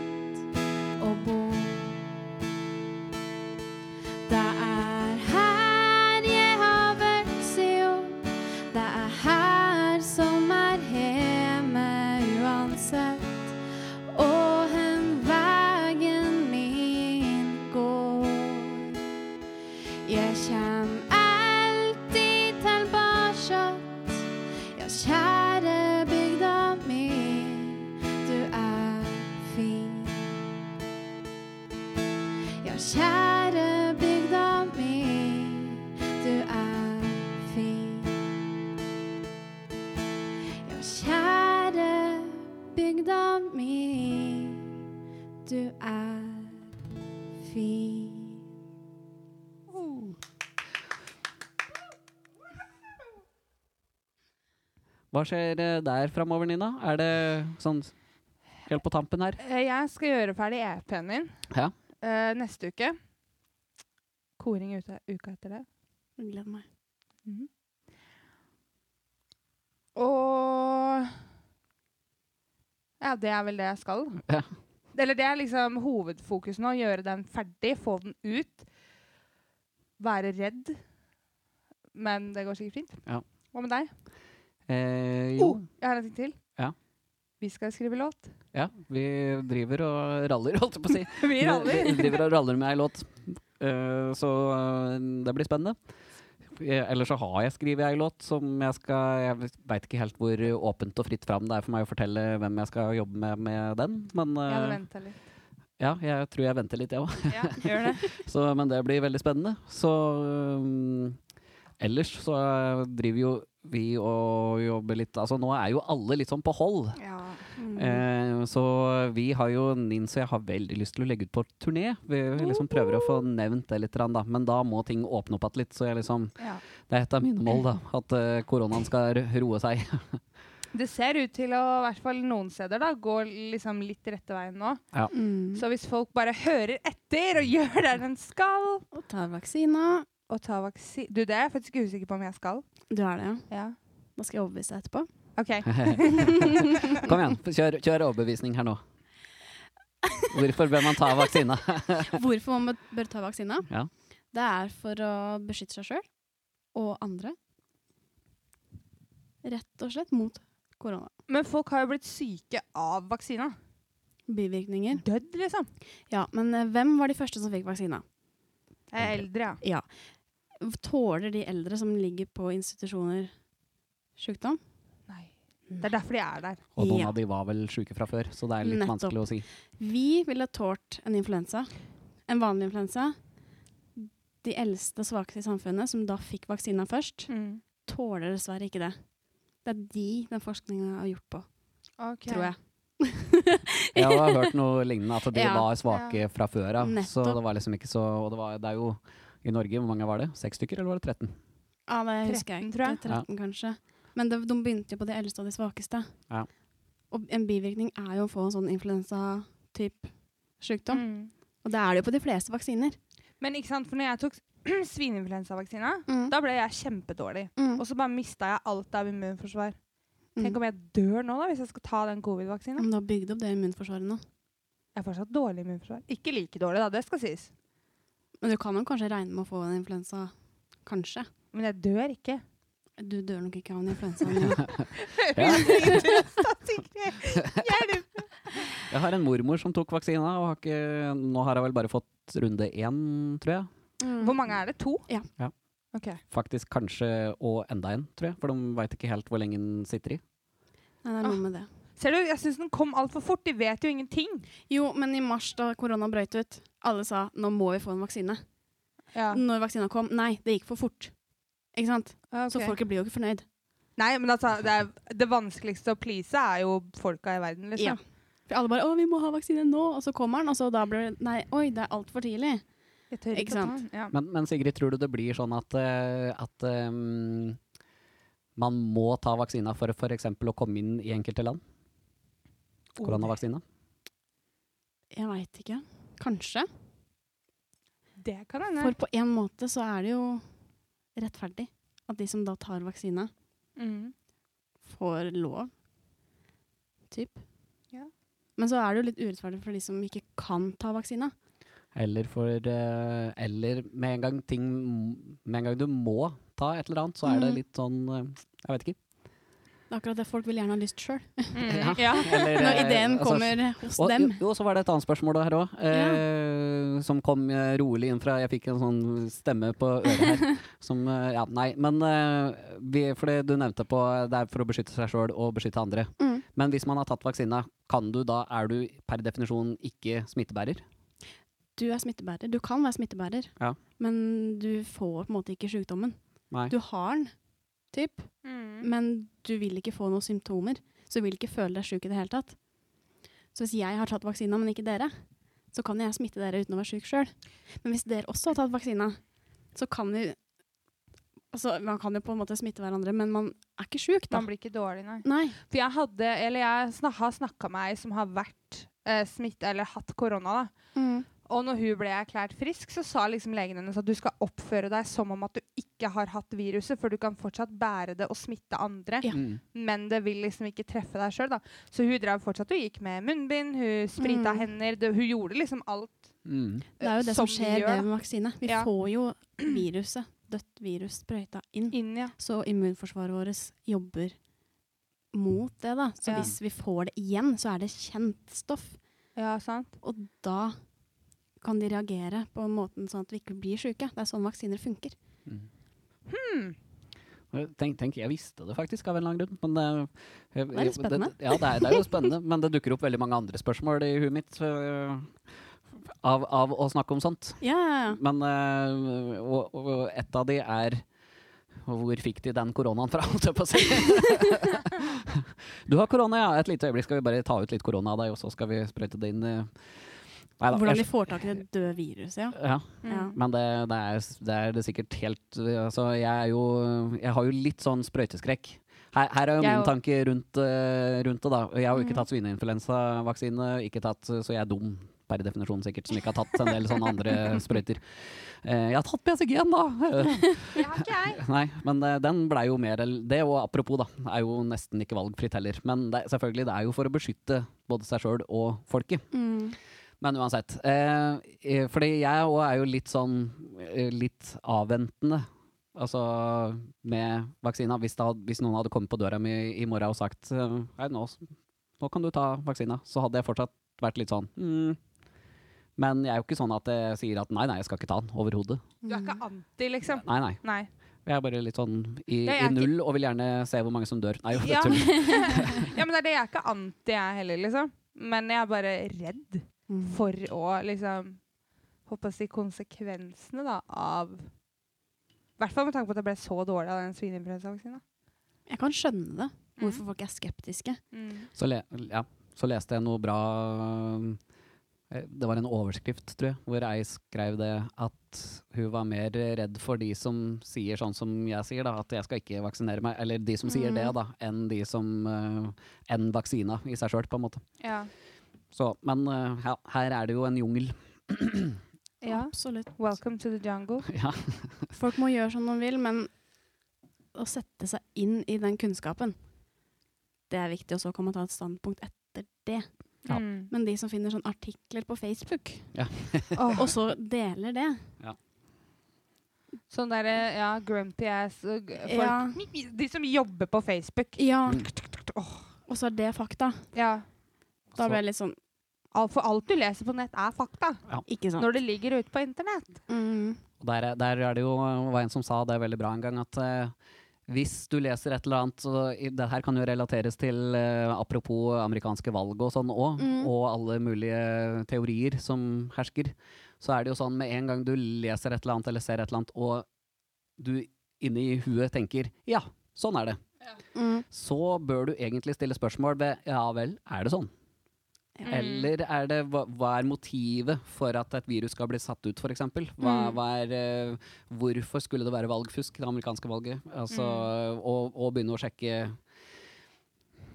[SPEAKER 3] Jeg kjem alltid tilbakjatt, ja, kjære bygda mi, du er fin. Ja, kjære bygda mi, du er fin. Ja, kjære bygda mi, du er fin.
[SPEAKER 1] Hva skjer eh, der framover, Nina? Er det sånn helt på tampen her?
[SPEAKER 2] Eh, Jeg skal gjøre ferdig EP-en min
[SPEAKER 1] Ja.
[SPEAKER 2] eh, neste uke. Koring ute uka etter det.
[SPEAKER 3] Gleder meg.
[SPEAKER 2] Og Ja, det er vel det jeg skal. da.
[SPEAKER 1] Ja.
[SPEAKER 2] Eller det er liksom hovedfokus nå. Gjøre den ferdig, få den ut. Være redd. Men det går sikkert fint.
[SPEAKER 1] Ja.
[SPEAKER 2] Hva med deg?
[SPEAKER 1] Eh, jo.
[SPEAKER 2] Oh, jeg har en ting til.
[SPEAKER 1] Ja.
[SPEAKER 2] Vi skal skrive låt.
[SPEAKER 1] Ja, vi driver og raller, holdt jeg på å si.
[SPEAKER 2] Vi raller.
[SPEAKER 1] Vi driver og raller med ei låt. Eh, så eh, det blir spennende. Eh, Eller så har jeg skrevet ei låt som jeg skal Jeg veit ikke helt hvor åpent og fritt fram det er for meg å fortelle hvem jeg skal jobbe med med den, men
[SPEAKER 2] Jeg hadde
[SPEAKER 1] eh,
[SPEAKER 2] venta litt.
[SPEAKER 1] ja, jeg tror jeg venter litt, jeg òg.
[SPEAKER 2] Ja, gjør det.
[SPEAKER 1] Men det blir veldig spennende. Så eh, ellers så driver jo vi og jobber litt Altså nå er jo alle litt sånn på hold.
[SPEAKER 2] Ja.
[SPEAKER 3] Mm.
[SPEAKER 1] Eh, så vi har jo Nins og jeg har veldig lyst til å legge ut på turné. Vi liksom prøver å få nevnt det litt, grann da. men da må ting åpne opp igjen litt. Så jeg liksom,
[SPEAKER 2] ja.
[SPEAKER 1] det er et av mine mål, da. At eh, koronaen skal r- roe seg.
[SPEAKER 2] Det ser ut til å i hvert fall noen steder da, gå liksom litt rette veien nå.
[SPEAKER 3] Mm.
[SPEAKER 2] Så hvis folk bare hører etter og gjør det den skal,
[SPEAKER 3] Og tar vaksina.
[SPEAKER 2] og tar vaksi... Du, det er jeg faktisk usikker på om jeg skal.
[SPEAKER 3] Du er det, ja.
[SPEAKER 2] Ja.
[SPEAKER 3] Da skal jeg overbevise deg etterpå.
[SPEAKER 2] OK.
[SPEAKER 1] Kom igjen, kjør, kjør overbevisning her nå. Hvorfor bør man ta vaksine?
[SPEAKER 3] Hvorfor man bør- bør ta vaksina?
[SPEAKER 1] Ja.
[SPEAKER 3] Det er for å beskytte seg sjøl og andre. Rett og slett mot korona.
[SPEAKER 2] Men folk har jo blitt syke av vaksina.
[SPEAKER 3] Bivirkninger.
[SPEAKER 2] Dødd, liksom.
[SPEAKER 3] Ja, men eh, hvem var de første som fikk vaksina?
[SPEAKER 2] Jeg er eldre, ja.
[SPEAKER 3] Tåler de eldre som ligger på institusjoner, sjukdom?
[SPEAKER 2] Nei. Det er derfor de er der.
[SPEAKER 1] Og noen
[SPEAKER 3] Ja.
[SPEAKER 1] av de var vel sjuke fra før, så det er litt
[SPEAKER 3] Nettopp.
[SPEAKER 1] vanskelig å si.
[SPEAKER 3] Vi ville tålt en influensa. En vanlig influensa. De eldste og svakeste i samfunnet, som da fikk vaksina først,
[SPEAKER 2] Mm.
[SPEAKER 3] tåler dessverre ikke det. Det er de den forskninga har gjort på,
[SPEAKER 2] Ok.
[SPEAKER 3] tror jeg.
[SPEAKER 1] Jeg har hørt noe lignende, at de
[SPEAKER 3] Ja.
[SPEAKER 1] var svake fra før av. Så
[SPEAKER 3] Nettopp.
[SPEAKER 1] det var liksom ikke så Og det, var, det er jo i Norge, hvor mange var det? Seks stykker, eller var det 13?
[SPEAKER 3] Ja, det husker
[SPEAKER 2] 13,
[SPEAKER 3] jeg ikke.
[SPEAKER 2] tror jeg.
[SPEAKER 3] 13, kanskje. Men det, de begynte jo på de eldste og de svakeste.
[SPEAKER 1] Ja.
[SPEAKER 3] Og en bivirkning er jo å få en sånn influensatype sykdom.
[SPEAKER 2] Mm.
[SPEAKER 3] Og det er det jo på de fleste vaksiner.
[SPEAKER 2] Men ikke sant, for når jeg tok svineinfluensavaksina,
[SPEAKER 3] Mm.
[SPEAKER 2] da ble jeg kjempedårlig.
[SPEAKER 3] Mm.
[SPEAKER 2] Og så bare mista jeg alt av immunforsvar.
[SPEAKER 3] Mm.
[SPEAKER 2] Tenk om jeg dør nå, da, hvis jeg skal ta den covid-vaksina.
[SPEAKER 3] Om du har bygd opp det immunforsvaret nå.
[SPEAKER 2] Jeg er fortsatt dårlig immunforsvar. Ikke like dårlig, da, det skal sies.
[SPEAKER 3] Men du kan jo kanskje regne med å få en influensa. Kanskje.
[SPEAKER 2] Men jeg dør ikke.
[SPEAKER 3] Du dør nok ikke av en influensa. Nina.
[SPEAKER 1] Ja.
[SPEAKER 2] Hjelp!
[SPEAKER 1] Jeg har en mormor som tok vaksina, og har ikke, nå har jeg vel bare fått runde én, tror jeg.
[SPEAKER 3] Mm.
[SPEAKER 2] Hvor mange er det? To?
[SPEAKER 3] Ja.
[SPEAKER 1] Ja.
[SPEAKER 2] Ok.
[SPEAKER 1] Faktisk kanskje og enda en, tror jeg. For de veit ikke helt hvor lenge den sitter i.
[SPEAKER 3] Nei, det er noe med det.
[SPEAKER 2] Ser du, jeg syns den kom altfor fort. De vet jo ingenting.
[SPEAKER 3] Jo, men i mars da korona brøyt ut, alle sa nå må vi få en vaksine.
[SPEAKER 2] Ja.
[SPEAKER 3] Når vaksina kom, nei, det gikk for fort. Ikke sant? Så folket blir jo ikke fornøyd.
[SPEAKER 2] Nei, men altså, det, er, det vanskeligste å please er jo folka i verden,
[SPEAKER 3] Ja.
[SPEAKER 2] liksom.
[SPEAKER 3] For alle bare 'Å, vi må ha vaksine nå', og så kommer den, og så da blir det Nei, oi, det er altfor tidlig.
[SPEAKER 2] Jeg tør
[SPEAKER 3] Ikke
[SPEAKER 2] å ta
[SPEAKER 3] sant?
[SPEAKER 2] den. Ja.
[SPEAKER 1] Men, men Sigrid, tror du det blir sånn at, eh, at eh, man må ta vaksina for f.eks. å komme inn i enkelte land?
[SPEAKER 3] Oh,
[SPEAKER 1] Koronavaksina?
[SPEAKER 3] Jeg veit ikke. Kanskje.
[SPEAKER 2] Det kan hende.
[SPEAKER 3] For på en måte så er det jo rettferdig at de som da tar vaksine,
[SPEAKER 2] Mm.
[SPEAKER 3] får lov. Typ.
[SPEAKER 2] Ja.
[SPEAKER 3] Men så er det jo litt urettferdig for de som ikke kan ta vaksina.
[SPEAKER 1] Eller, for, eh, eller med, en gang ting, med en gang du må ta et eller annet, så er det
[SPEAKER 3] Mhm.
[SPEAKER 1] litt sånn eh, Jeg vet ikke.
[SPEAKER 3] Det er akkurat det folk vil gjerne ha lyst sjøl.
[SPEAKER 2] Mm, ja.
[SPEAKER 1] Eller,
[SPEAKER 3] Når
[SPEAKER 1] eh,
[SPEAKER 3] ideen
[SPEAKER 1] altså,
[SPEAKER 3] kommer hos
[SPEAKER 1] Og,
[SPEAKER 3] dem.
[SPEAKER 1] Jo, jo, så var det et annet spørsmål der òg, eh, som kom eh, rolig inn fra Jeg fikk en sånn stemme på øret her. som, eh, ja, nei, men eh, vi, for det du nevnte på eh, det er for å beskytte seg sjøl og beskytte andre.
[SPEAKER 3] Mm.
[SPEAKER 1] Men hvis man har tatt vaksina, kan du da, er du per definisjon ikke smittebærer?
[SPEAKER 3] Du er smittebærer. Du kan være smittebærer,
[SPEAKER 1] Ja.
[SPEAKER 3] men du får på en måte ikke sykdommen.
[SPEAKER 1] Nei.
[SPEAKER 3] Du har den, typ,
[SPEAKER 2] Mm.
[SPEAKER 3] men du vil ikke få noen symptomer. Så du vil ikke føle deg syk i det hele tatt. Så hvis jeg har tatt vaksina, men ikke dere, så kan jeg smitte dere uten å være syk sjøl. Men hvis dere også har tatt vaksina, så kan vi Altså, man kan jo på en måte smitte hverandre, men man er ikke sjuk, da.
[SPEAKER 2] Man blir ikke dårlig, nei.
[SPEAKER 3] Nei.
[SPEAKER 2] For jeg hadde, eller jeg snak, har snakka med ei som har vært eh, smitt, eller hatt korona. da. Og når hun ble erklært frisk, så sa liksom legen hennes at du skal oppføre deg som om at du ikke har hatt viruset, for du kan fortsatt bære det og smitte andre.
[SPEAKER 3] Ja.
[SPEAKER 1] Mm.
[SPEAKER 2] Men det vil liksom ikke treffe deg sjøl, da. Så hun drev fortsatt og gikk med munnbind, hun sprita
[SPEAKER 3] Mm.
[SPEAKER 2] hender, det, hun gjorde liksom alt.
[SPEAKER 1] Mm.
[SPEAKER 3] Det er jo det som,
[SPEAKER 2] Som vi
[SPEAKER 3] skjer
[SPEAKER 2] gjør, da.
[SPEAKER 3] ved vaksine. Vi
[SPEAKER 2] Ja.
[SPEAKER 3] får jo viruset, dødt virus, sprøyta inn.
[SPEAKER 2] Inn, ja.
[SPEAKER 3] Så immunforsvaret vårt jobber mot det, da. Så
[SPEAKER 2] Ja.
[SPEAKER 3] hvis vi får det igjen, så er det kjent stoff.
[SPEAKER 2] ja, sant?
[SPEAKER 3] Og da kan de reagere på en måte sånn at vi ikke blir syke. Det er sånn vaksiner funker.
[SPEAKER 1] Mm.
[SPEAKER 2] Hmm.
[SPEAKER 1] Tenk, tenk, jeg visste det faktisk av en lang grunn, men eh, jeg-
[SPEAKER 3] Det er litt
[SPEAKER 1] jeg-
[SPEAKER 3] spennende.
[SPEAKER 1] ja, det er, det er jo spennende, men det dukker opp veldig mange andre spørsmål i huet mitt eh, av, av å snakke om sånt.
[SPEAKER 3] Ja, ja, ja.
[SPEAKER 1] Men eh, og, og og et av de er og hvor fikk de den koronaen fra? holdt jeg på å si? du har korona, ja. Et lite øyeblikk skal vi bare ta ut litt korona av deg, og så skal vi sprøyte det inn i Neida,
[SPEAKER 3] Hvordan
[SPEAKER 1] jeg-
[SPEAKER 3] vi får tak i det døde viruset, ja.
[SPEAKER 1] ja,
[SPEAKER 2] Mm.
[SPEAKER 3] ja.
[SPEAKER 1] men det, det, er, det er det sikkert helt altså, jeg, er jo, jeg har jo litt sånn sprøyteskrekk. Her, her er jo
[SPEAKER 2] Jeg
[SPEAKER 1] min
[SPEAKER 2] òg.
[SPEAKER 1] tanke rundt, eh, rundt det. da. Jeg har jo ikke
[SPEAKER 3] Mhm.
[SPEAKER 1] tatt svineinfluensavaksine, ikke tatt, eh, så jeg er dum per definisjon sikkert, som ikke har tatt en del sånne andre sprøyter. Eh, jeg har tatt BCG-en, da! Eh,
[SPEAKER 2] Det har ikke jeg.
[SPEAKER 1] Nei, men eh, den blei jo mer el- Det og apropos, da, er jo nesten ikke valgfritt heller. Men det, selvfølgelig, det er jo for å beskytte både seg sjøl og folket.
[SPEAKER 3] Mm.
[SPEAKER 1] Men uansett. Eh, eh, fordi jeg òg er jo litt sånn eh, litt avventende. Altså med vaksina. Hvis, det hadde, hvis noen hadde kommet på døra mi i morgen og sagt eh, Hei, nå, s- nå kan du ta vaksina, så hadde jeg fortsatt vært litt sånn mm. Men jeg er jo ikke sånn at jeg sier at nei, nei, jeg skal ikke ta den overhodet.
[SPEAKER 2] Du er ikke
[SPEAKER 3] Mm.
[SPEAKER 2] anti, liksom?
[SPEAKER 1] Nei, nei.
[SPEAKER 2] Nei.
[SPEAKER 1] Jeg er bare litt sånn i,
[SPEAKER 2] Ja, jeg
[SPEAKER 1] i
[SPEAKER 2] er ikke-
[SPEAKER 1] null og vil gjerne se hvor mange som dør. Nei, jo, det
[SPEAKER 2] Ja.
[SPEAKER 1] er tull.
[SPEAKER 2] Ja, men det er det jeg er ikke anti, jeg heller, liksom. Men jeg er bare redd
[SPEAKER 3] Mm.
[SPEAKER 2] for å liksom Håper å si konsekvensene da, av I hvert fall med tanke på at jeg ble så dårlig av den svineinfluensavaksinen.
[SPEAKER 3] Jeg kan skjønne det,
[SPEAKER 2] Mm.
[SPEAKER 3] hvorfor folk er skeptiske.
[SPEAKER 2] Mm.
[SPEAKER 1] Så, le, ja, så leste jeg noe bra eh, Det var en overskrift, tror jeg, hvor ei skrev det at hun var mer redd for de som sier sånn som jeg sier, da, at jeg skal ikke vaksinere meg, eller de som sier
[SPEAKER 3] Mm.
[SPEAKER 1] det, da, enn de som eh, Enn vaksina i seg sjøl, på en måte.
[SPEAKER 2] Ja.
[SPEAKER 1] Så, men eh, ja, her er det jo en jungel.
[SPEAKER 2] ja.
[SPEAKER 3] Absolutt.
[SPEAKER 2] Welcome to the jungle.
[SPEAKER 1] ja.
[SPEAKER 3] Folk må gjøre som de vil, men å sette seg inn i den kunnskapen, det er viktig. Og så kan man ta et standpunkt etter det.
[SPEAKER 1] Ja.
[SPEAKER 2] Mm.
[SPEAKER 3] Men de som finner sånne artikler på Facebook,
[SPEAKER 2] Åh,
[SPEAKER 3] og så deler det
[SPEAKER 2] sånn derre ja, grumpy ass uh, g- folk.
[SPEAKER 3] Ja.
[SPEAKER 2] De som jobber på Facebook.
[SPEAKER 3] Ja,
[SPEAKER 1] Mm.
[SPEAKER 3] og så er det fakta.
[SPEAKER 2] Ja.
[SPEAKER 3] Da
[SPEAKER 1] Så-
[SPEAKER 3] blir jeg litt sånn
[SPEAKER 2] Al- For alt du leser på nett, er fakta.
[SPEAKER 3] Ikke sant.
[SPEAKER 2] Når det ligger ute på internett.
[SPEAKER 3] Mm.
[SPEAKER 1] Og der, er- der er det jo var en som sa det veldig bra en gang, at eh, hvis du leser et eller annet så, i- Det her kan jo relateres til eh, apropos amerikanske valg og sånn òg,
[SPEAKER 3] Mm.
[SPEAKER 1] og alle mulige teorier som hersker. Så er det jo sånn med en gang du leser et eller annet eller ser et eller annet, og du inni huet tenker 'ja, sånn er det',
[SPEAKER 3] Mm.
[SPEAKER 1] så bør du egentlig stille spørsmål ved 'ja vel, er det sånn'?
[SPEAKER 3] Ja.
[SPEAKER 2] Mm.
[SPEAKER 1] Eller er det, hva, hva er motivet for at et virus skal bli satt ut, f.eks.? Hva,
[SPEAKER 2] Mm.
[SPEAKER 1] hva er, eh, hvorfor skulle det være valgfusk i det amerikanske valget? Altså,
[SPEAKER 2] Mm.
[SPEAKER 1] og, og begynne å sjekke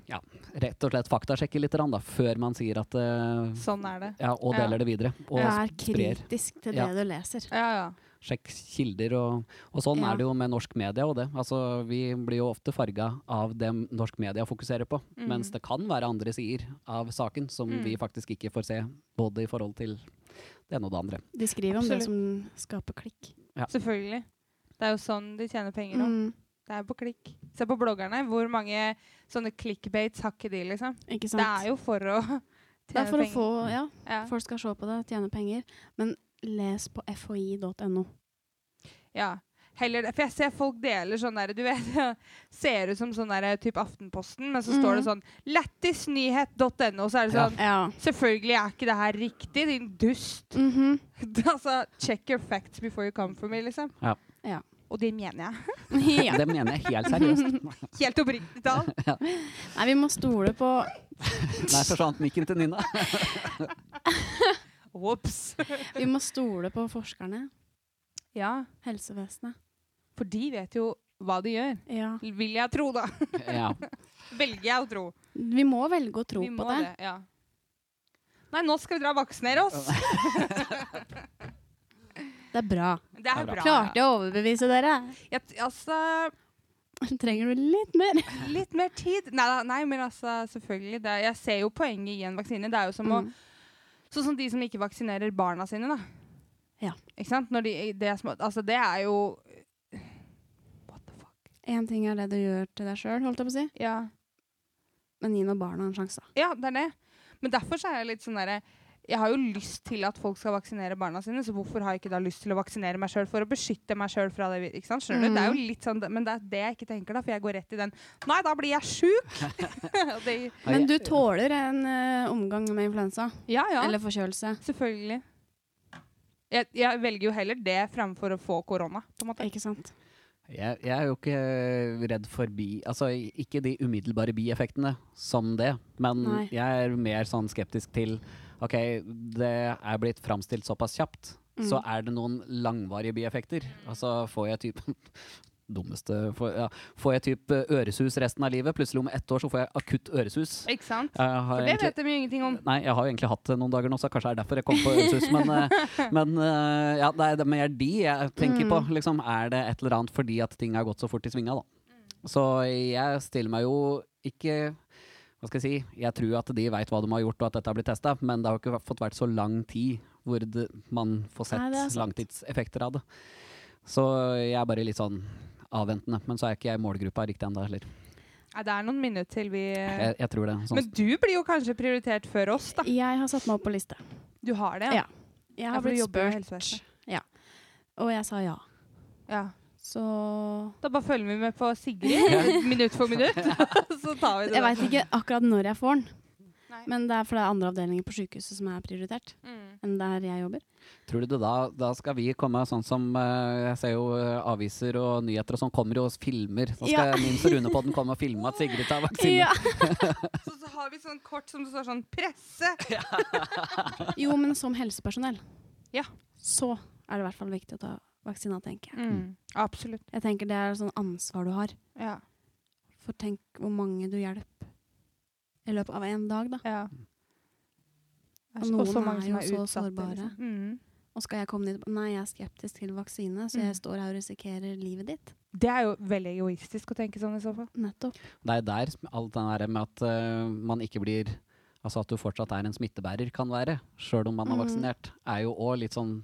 [SPEAKER 1] Ja, rett og slett faktasjekke litt da, før man sier at eh,
[SPEAKER 2] Sånn er det.
[SPEAKER 1] ja, Og
[SPEAKER 2] Ja.
[SPEAKER 1] deler det videre. Og
[SPEAKER 3] Vær
[SPEAKER 1] sprer.
[SPEAKER 3] kritisk til det
[SPEAKER 1] Ja.
[SPEAKER 3] du leser.
[SPEAKER 2] Ja, ja.
[SPEAKER 1] Sjekk kilder og, og sånn
[SPEAKER 3] Ja.
[SPEAKER 1] er det jo med norsk media og det. Altså, vi blir jo ofte farga av det norsk media fokuserer på,
[SPEAKER 2] Mm.
[SPEAKER 1] mens det kan være andre sider av saken som
[SPEAKER 2] Mm.
[SPEAKER 1] vi faktisk ikke får se, både i forhold til det ene og det andre.
[SPEAKER 3] De skriver om det som skaper klikk.
[SPEAKER 1] Ja.
[SPEAKER 2] Selvfølgelig. Det er jo sånn de tjener penger. da.
[SPEAKER 3] Mm.
[SPEAKER 2] Det er på klikk. Se på bloggerne. Hvor mange sånne clickbaits har ikke de, liksom?
[SPEAKER 3] Ikke sant?
[SPEAKER 2] Det er jo for å
[SPEAKER 3] Det er
[SPEAKER 2] tjene
[SPEAKER 3] for å
[SPEAKER 2] penger.
[SPEAKER 3] få Ja,
[SPEAKER 2] ja.
[SPEAKER 3] folk skal se på det, tjene penger. Men les på foi.no.
[SPEAKER 2] ja. Heller det. For jeg ser folk deler sånn der, du vet, ser ut som sånn der type Aftenposten, men så står det sånn lættisnyhet.no, så er det
[SPEAKER 1] Ja.
[SPEAKER 2] sånn
[SPEAKER 3] Ja.
[SPEAKER 2] Selvfølgelig er ikke det her riktig, din dust.
[SPEAKER 3] Mhm.
[SPEAKER 2] altså, check your facts before you come for me, liksom.
[SPEAKER 1] Ja.
[SPEAKER 3] Ja.
[SPEAKER 2] Og det mener jeg.
[SPEAKER 3] ja.
[SPEAKER 1] Det mener jeg helt seriøst. Nei,
[SPEAKER 2] Helt oppriktig talt.
[SPEAKER 3] Nei, vi må stole på
[SPEAKER 1] forsvant mikken til Nina.
[SPEAKER 2] Ops.
[SPEAKER 3] Vi må stole på forskerne.
[SPEAKER 2] Ja,
[SPEAKER 3] Helsevesenet.
[SPEAKER 2] for de vet jo hva de gjør.
[SPEAKER 3] Ja.
[SPEAKER 2] Vil jeg tro, da.
[SPEAKER 1] Ja.
[SPEAKER 2] Velger jeg å tro.
[SPEAKER 3] Vi må velge å tro
[SPEAKER 2] Vi
[SPEAKER 3] på
[SPEAKER 2] må
[SPEAKER 3] det.
[SPEAKER 2] det. Ja. Nei, nå skal vi dra og vaksinere oss.
[SPEAKER 3] Det er bra.
[SPEAKER 2] Det er
[SPEAKER 1] Det er bra.
[SPEAKER 2] bra.
[SPEAKER 3] Klarte jeg å overbevise dere?
[SPEAKER 2] Jeg, t- altså,
[SPEAKER 3] Trenger du litt mer?
[SPEAKER 2] litt mer tid. Nei, da, nei men altså, selvfølgelig. Det, er- jeg ser jo poenget i en vaksine. Det er jo som å
[SPEAKER 3] Mm.
[SPEAKER 2] Sånn som de som ikke vaksinerer barna sine, da.
[SPEAKER 3] Ja.
[SPEAKER 2] Ikke sant? Når de, det, er små, altså, det er jo What the fuck?
[SPEAKER 3] En ting er det du gjør til deg sjøl, holdt jeg på å si.
[SPEAKER 2] Ja.
[SPEAKER 3] Men gi nå barna en sjanse, da.
[SPEAKER 2] Ja, det er det. Men derfor så er jeg litt sånn derre Jeg har jo lyst til at folk skal vaksinere barna sine, så hvorfor har jeg ikke da lyst til å vaksinere meg sjøl for å beskytte meg sjøl fra det? vir- Ikke sant? Skjønner du? Det er jo litt sånn, men det er det jeg ikke tenker, da, for jeg går rett i den Nei, da blir jeg sjuk! Og det-
[SPEAKER 3] Men du tåler en eh, omgang med influensa.
[SPEAKER 2] ja, ja.
[SPEAKER 3] Eller forkjølelse.
[SPEAKER 2] selvfølgelig. Jeg, jeg velger jo heller det framfor å få korona, på en måte.
[SPEAKER 3] Ikke sant?
[SPEAKER 1] Jeg, jeg er jo ikke eh, redd for bi... Altså, ikke de umiddelbare bieffektene som det, men
[SPEAKER 3] Nei.
[SPEAKER 1] jeg er mer sånn skeptisk til OK, det er blitt framstilt såpass kjapt,
[SPEAKER 2] Mm.
[SPEAKER 1] så er det noen langvarige bieffekter. Altså, får jeg type Dummeste får, ja, får jeg type øresus resten av livet? Plutselig om ett år så får jeg akutt øresus.
[SPEAKER 2] Ikke sant?
[SPEAKER 1] Jeg har
[SPEAKER 2] For det vet de jo ingenting om.
[SPEAKER 1] Nei, jeg har jo egentlig hatt det noen dager nå, så kanskje det er derfor jeg kom på Øreshus. Men, eh, men eh, ja, det er- det er mer de jeg tenker
[SPEAKER 3] Mm.
[SPEAKER 1] på. Liksom, er det et eller annet fordi at ting har gått så fort i svinga, da?
[SPEAKER 3] Mm.
[SPEAKER 1] Så jeg stiller meg jo ikke Hva skal jeg si? Jeg tror at de veit hva de har gjort, og at dette har blitt testa, men det har jo ikke vært- fått vært så lang tid hvor det, man får sett
[SPEAKER 3] Nei, det er sant.
[SPEAKER 1] langtidseffekter av det. Så jeg er bare litt sånn avventende. Men så er ikke jeg i målgruppa riktig ennå heller.
[SPEAKER 2] Nei, det er noen minutter til vi
[SPEAKER 1] Jeg, jeg tror det. Sånn.
[SPEAKER 2] Men du blir jo kanskje prioritert før oss, da.
[SPEAKER 3] Jeg har satt meg opp på liste.
[SPEAKER 2] Du har det?
[SPEAKER 3] Ja. Jeg
[SPEAKER 2] Ja,
[SPEAKER 3] har
[SPEAKER 2] for du
[SPEAKER 3] blitt
[SPEAKER 2] jobber jo i
[SPEAKER 3] spurt.
[SPEAKER 2] helsevesenet.
[SPEAKER 3] Ja. Og jeg sa ja.
[SPEAKER 2] ja.
[SPEAKER 3] Så
[SPEAKER 2] Da bare følger vi med på Sigrid minutt for minutt. så tar vi det.
[SPEAKER 3] Jeg veit ikke akkurat når jeg får den,
[SPEAKER 2] Nei.
[SPEAKER 3] men det er fordi det er andre avdelinger på sykehuset som er prioritert
[SPEAKER 2] Mm.
[SPEAKER 3] enn der jeg jobber.
[SPEAKER 1] Tror du det da, da skal vi komme sånn som eh, Jeg ser jo eh, aviser og nyheter og sånn kommer jo og filmer. Da skal
[SPEAKER 3] Ja.
[SPEAKER 1] Nils og Rune på den komme og filme at Sigrid tar vaksine.
[SPEAKER 3] Ja.
[SPEAKER 2] Så, så har vi sånn kort som det står sånn 'presse'.
[SPEAKER 3] Jo, men som helsepersonell
[SPEAKER 2] Ja.
[SPEAKER 3] så er det i hvert fall viktig å ta vaksina, tenker jeg.
[SPEAKER 2] Absolutt.
[SPEAKER 3] Jeg tenker Det er et sånn ansvar du har.
[SPEAKER 2] Ja.
[SPEAKER 3] For tenk hvor mange du hjelper i løpet av en dag, da.
[SPEAKER 2] ja.
[SPEAKER 3] Og noen er jo så sårbare.
[SPEAKER 2] liksom. Mm.
[SPEAKER 3] Og skal jeg komme dit Nei, jeg er skeptisk til vaksine, så
[SPEAKER 2] Mm.
[SPEAKER 3] jeg står her og risikerer livet ditt.
[SPEAKER 2] Det er jo veldig egoistisk å tenke sånn i så fall.
[SPEAKER 3] Nettopp.
[SPEAKER 1] Det er der sm- alt det der med at eh, man ikke blir Altså at du fortsatt er en smittebærer, kan være. Sjøl om man er
[SPEAKER 3] Mhm.
[SPEAKER 1] vaksinert. Er jo òg litt sånn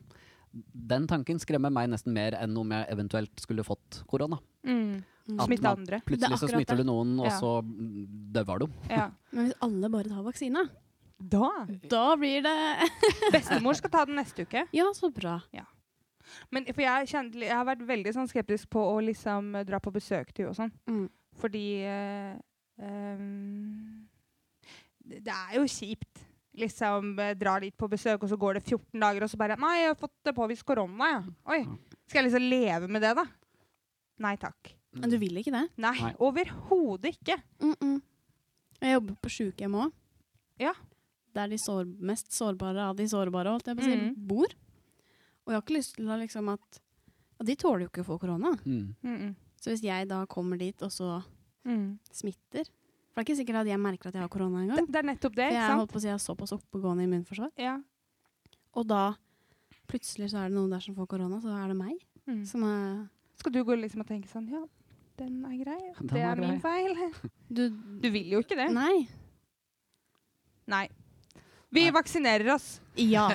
[SPEAKER 1] Den tanken skremmer meg nesten mer enn om jeg eventuelt skulle fått korona.
[SPEAKER 2] Mm.
[SPEAKER 3] Mm.
[SPEAKER 1] At
[SPEAKER 2] Smitte
[SPEAKER 1] man-
[SPEAKER 2] andre.
[SPEAKER 3] Det er
[SPEAKER 1] Plutselig så
[SPEAKER 3] akkurat
[SPEAKER 1] smitter du
[SPEAKER 3] det.
[SPEAKER 1] noen, og
[SPEAKER 2] Ja.
[SPEAKER 1] så mm, døver du.
[SPEAKER 2] Ja.
[SPEAKER 3] Men hvis alle bare tar vaksina,
[SPEAKER 2] Da
[SPEAKER 3] da blir det
[SPEAKER 2] Bestemor skal ta den neste uke.
[SPEAKER 3] Ja, så bra.
[SPEAKER 2] Men for jeg, kjente, jeg har vært veldig sånn skeptisk på å liksom dra på besøk til henne og sånn.
[SPEAKER 3] Mm.
[SPEAKER 2] Fordi eh, ehm, Det det er jo kjipt. Liksom eh, drar dit på besøk, og så går det 14 dager, og så bare Nei, jeg har fått eh, påvist korona, ja. Oi. Skal jeg liksom leve med det, da? Nei takk.
[SPEAKER 3] Men du vil ikke det?
[SPEAKER 2] Nei,
[SPEAKER 1] Nei.
[SPEAKER 2] overhodet ikke.
[SPEAKER 3] Mm -mm. Jeg jobber på sjukehjem òg.
[SPEAKER 2] Ja.
[SPEAKER 3] Der de sår, mest sårbare av de sårbare holdt jeg på å si,
[SPEAKER 2] Mhm.
[SPEAKER 3] bor. Og jeg har ikke lyst til å liksom at ja, De tåler jo ikke å få korona.
[SPEAKER 1] Mm.
[SPEAKER 2] Mm,
[SPEAKER 3] Så hvis jeg da kommer dit og så
[SPEAKER 2] mm, mm.
[SPEAKER 3] smitter For det er ikke sikkert at jeg merker at jeg har korona
[SPEAKER 2] Det,
[SPEAKER 3] engang.
[SPEAKER 2] det er nettopp det,
[SPEAKER 3] For
[SPEAKER 2] ikke
[SPEAKER 3] jeg
[SPEAKER 2] sant?
[SPEAKER 3] holdt på å si jeg er såpass oppegående immunforsvar.
[SPEAKER 2] Ja.
[SPEAKER 3] Og da plutselig så er det noen der som får korona, så er det meg
[SPEAKER 2] Mm.
[SPEAKER 3] som er
[SPEAKER 2] Skal du gå liksom og tenke sånn Ja, den er grei.
[SPEAKER 1] Den
[SPEAKER 2] det
[SPEAKER 1] er
[SPEAKER 2] er min
[SPEAKER 1] grei.
[SPEAKER 2] feil.
[SPEAKER 3] Du
[SPEAKER 2] Du vil jo ikke det.
[SPEAKER 3] Nei.
[SPEAKER 2] Nei. Vi
[SPEAKER 1] Nei.
[SPEAKER 2] vaksinerer oss.
[SPEAKER 3] Ja.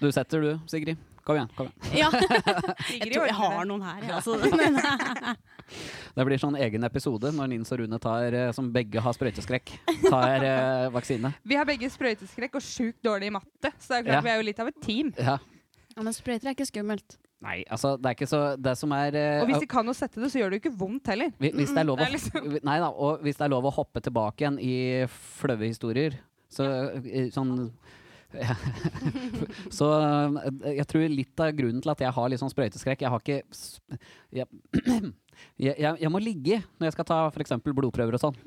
[SPEAKER 1] Du setter du, Sigrid. Kom igjen. kom igjen.
[SPEAKER 3] Ja,
[SPEAKER 2] Ligger
[SPEAKER 3] jeg
[SPEAKER 2] i
[SPEAKER 3] tror
[SPEAKER 2] ordene.
[SPEAKER 3] jeg har noen her. jeg, Altså.
[SPEAKER 1] Det blir sånn egen episode når Nins og Rune tar, eh, som begge har sprøyteskrekk, tar eh, vaksine.
[SPEAKER 2] Vi har begge sprøyteskrekk og sjukt dårlig i matte, så det er klart
[SPEAKER 1] Ja. Eh,
[SPEAKER 2] vi er jo litt av et team.
[SPEAKER 1] Ja.
[SPEAKER 3] Ja, men sprøyter er ikke skummelt.
[SPEAKER 1] Nei, altså, det er ikke så Det som er eh,
[SPEAKER 2] Og hvis de kan å sette det, så gjør det jo ikke vondt heller.
[SPEAKER 1] Hvi- Hvis det er lov
[SPEAKER 2] Det
[SPEAKER 1] å,
[SPEAKER 2] er liksom-
[SPEAKER 1] nei da, og hvis det er lov å hoppe tilbake igjen i flaue historier, så eh, sånn ja. Så eh, jeg tror litt av grunnen til at jeg har litt sånn sprøyteskrekk Jeg har ikke s- jeg, jeg, jeg, jeg må ligge når jeg skal ta f.eks. blodprøver og sånn,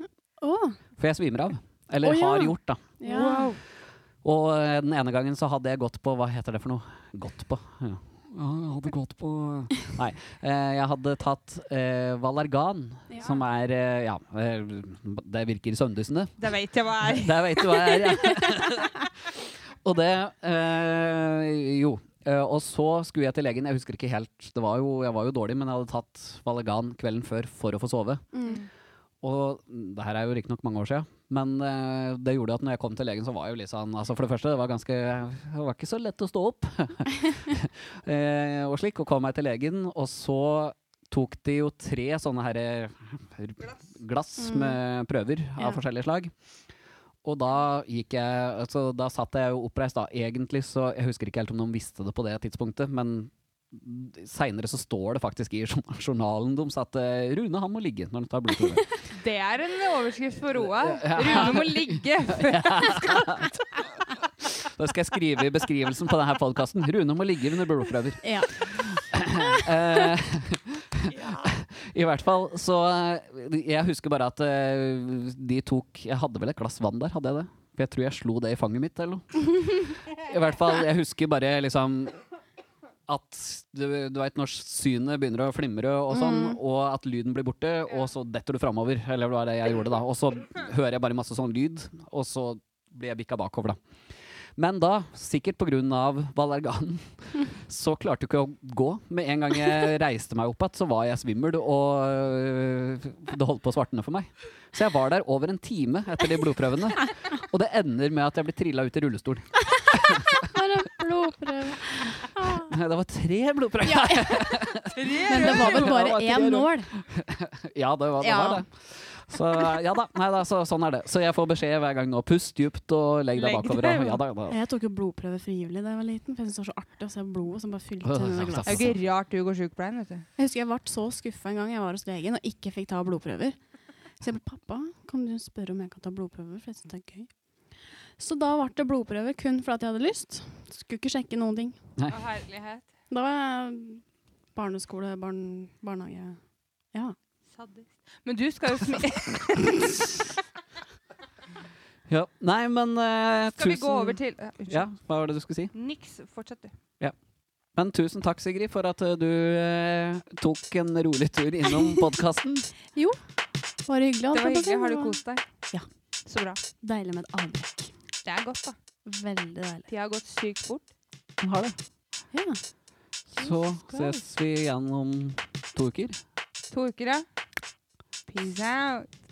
[SPEAKER 3] Å,
[SPEAKER 1] for jeg svimer av. Eller
[SPEAKER 3] Å, ja.
[SPEAKER 1] har gjort, da.
[SPEAKER 3] ja.
[SPEAKER 2] Wow.
[SPEAKER 1] Og eh, den ene gangen så hadde jeg gått på Hva heter det for noe? Gått på? Ja, Ja, jeg hadde gått på Nei. eh, Jeg hadde tatt eh, Valargan,
[SPEAKER 3] Ja.
[SPEAKER 1] som er eh, Ja, eh, det virker søvndyssende.
[SPEAKER 2] Det vet jeg hva er.
[SPEAKER 1] Der veit du hva jeg er, ja. Og det eh, Jo. Eh, og så skulle jeg til legen. Jeg husker ikke helt, det var jo, jeg var jo dårlig, men jeg hadde tatt Valargan kvelden før for å få sove.
[SPEAKER 3] Mm.
[SPEAKER 1] Og det her er jo riktignok mange år siden, men eh, det gjorde at når jeg kom til legen, så var jeg jo litt sånn altså For det første, det var ganske Det var ikke så lett å stå opp. eh, og slik. Og kom meg til legen, og så tok de jo tre sånne her eh, glass
[SPEAKER 3] Mm.
[SPEAKER 1] med prøver av
[SPEAKER 3] Ja.
[SPEAKER 1] forskjellige slag. Og da gikk jeg altså, Da satt jeg jo oppreist, da. Egentlig så Jeg husker ikke helt om noen visste det på det tidspunktet, men seinere så står det faktisk i journa- journalen deres at eh, Rune han må ligge når han tar blodprøve.
[SPEAKER 2] Det er en overskrift for Roa.
[SPEAKER 1] Ja.
[SPEAKER 2] Rune må ligge.
[SPEAKER 1] Da skal jeg skrive i beskrivelsen på denne podkasten. Rune må ligge under blodprøver.
[SPEAKER 3] ja.
[SPEAKER 1] Eh, I hvert fall, så eh, Jeg husker bare at eh, de tok Jeg hadde vel et glass vann der, hadde jeg det? For jeg tror jeg slo det i fanget mitt, eller noe. I hvert fall, jeg husker bare liksom at du, du veit når synet begynner å flimre og sånn, og at lyden blir borte, og så detter du framover. Eller det var det jeg gjorde da. Og så hører jeg bare masse sånn lyd, og så blir jeg bikka bakover, da. Men da, sikkert på grunn av Valerganen, så klarte jeg ikke å gå. Med en gang jeg reiste meg opp igjen, så var jeg svimmel, og øh, det holdt på å svartne for meg. Så jeg var der over en time etter de blodprøvene, og det ender med at jeg blir trilla ut i rullestol.
[SPEAKER 3] For en blodprøve. Ah.
[SPEAKER 1] Det var tre blodprøver!
[SPEAKER 3] Ja, men det var vel bare én nål.
[SPEAKER 1] Ja, det var det.
[SPEAKER 3] Ja.
[SPEAKER 1] Var det. Så ja da, nei da, så, sånn er det. Så jeg får beskjed hver gang nå. Pust dypt og legg deg
[SPEAKER 2] Legg deg,
[SPEAKER 1] bakover. Og,
[SPEAKER 2] ja.
[SPEAKER 1] ja, da, da.
[SPEAKER 3] Jeg tok jo blodprøve frivillig da jeg var liten, for jeg syntes det var så artig å se blodet som bare fylte denne
[SPEAKER 2] Det er
[SPEAKER 3] glasset.
[SPEAKER 2] jo ikke rart du går sjukepleien, vet du.
[SPEAKER 3] Jeg husker jeg ble så skuffa en gang jeg var hos legen og ikke fikk ta blodprøver. Så jeg ble pappa, kan du spørre om jeg kan ta blodprøver, for jeg syns det er gøy. Så da ble det blodprøve kun fordi jeg hadde lyst. Skulle ikke sjekke noen ting.
[SPEAKER 1] Nei.
[SPEAKER 2] Å, herlighet.
[SPEAKER 3] Da var jeg barneskole, barn, barnehage Ja.
[SPEAKER 2] Men du skal jo smi...
[SPEAKER 1] Ja. Nei, men eh,
[SPEAKER 2] Skal vi
[SPEAKER 1] tusen-
[SPEAKER 2] gå over til Ja, Unnskyld.
[SPEAKER 1] Ja, hva var det du skulle si?
[SPEAKER 2] Niks. Fortsett, du.
[SPEAKER 1] Men tusen takk, Sigrid, for at eh, du eh, tok en rolig tur innom podkasten.
[SPEAKER 3] Var det hyggelig?
[SPEAKER 2] Det var
[SPEAKER 3] holdt jeg på å si.
[SPEAKER 2] hyggelig. Har du kost deg?
[SPEAKER 3] Ja.
[SPEAKER 2] Så bra.
[SPEAKER 3] Deilig med et avbrekk.
[SPEAKER 2] Det er godt, da.
[SPEAKER 3] Veldig deilig.
[SPEAKER 2] Tida har gått sykt fort.
[SPEAKER 1] Har det.
[SPEAKER 3] Ja.
[SPEAKER 1] Så ses vi igjen om to uker.
[SPEAKER 2] To uker, ja. Peace out.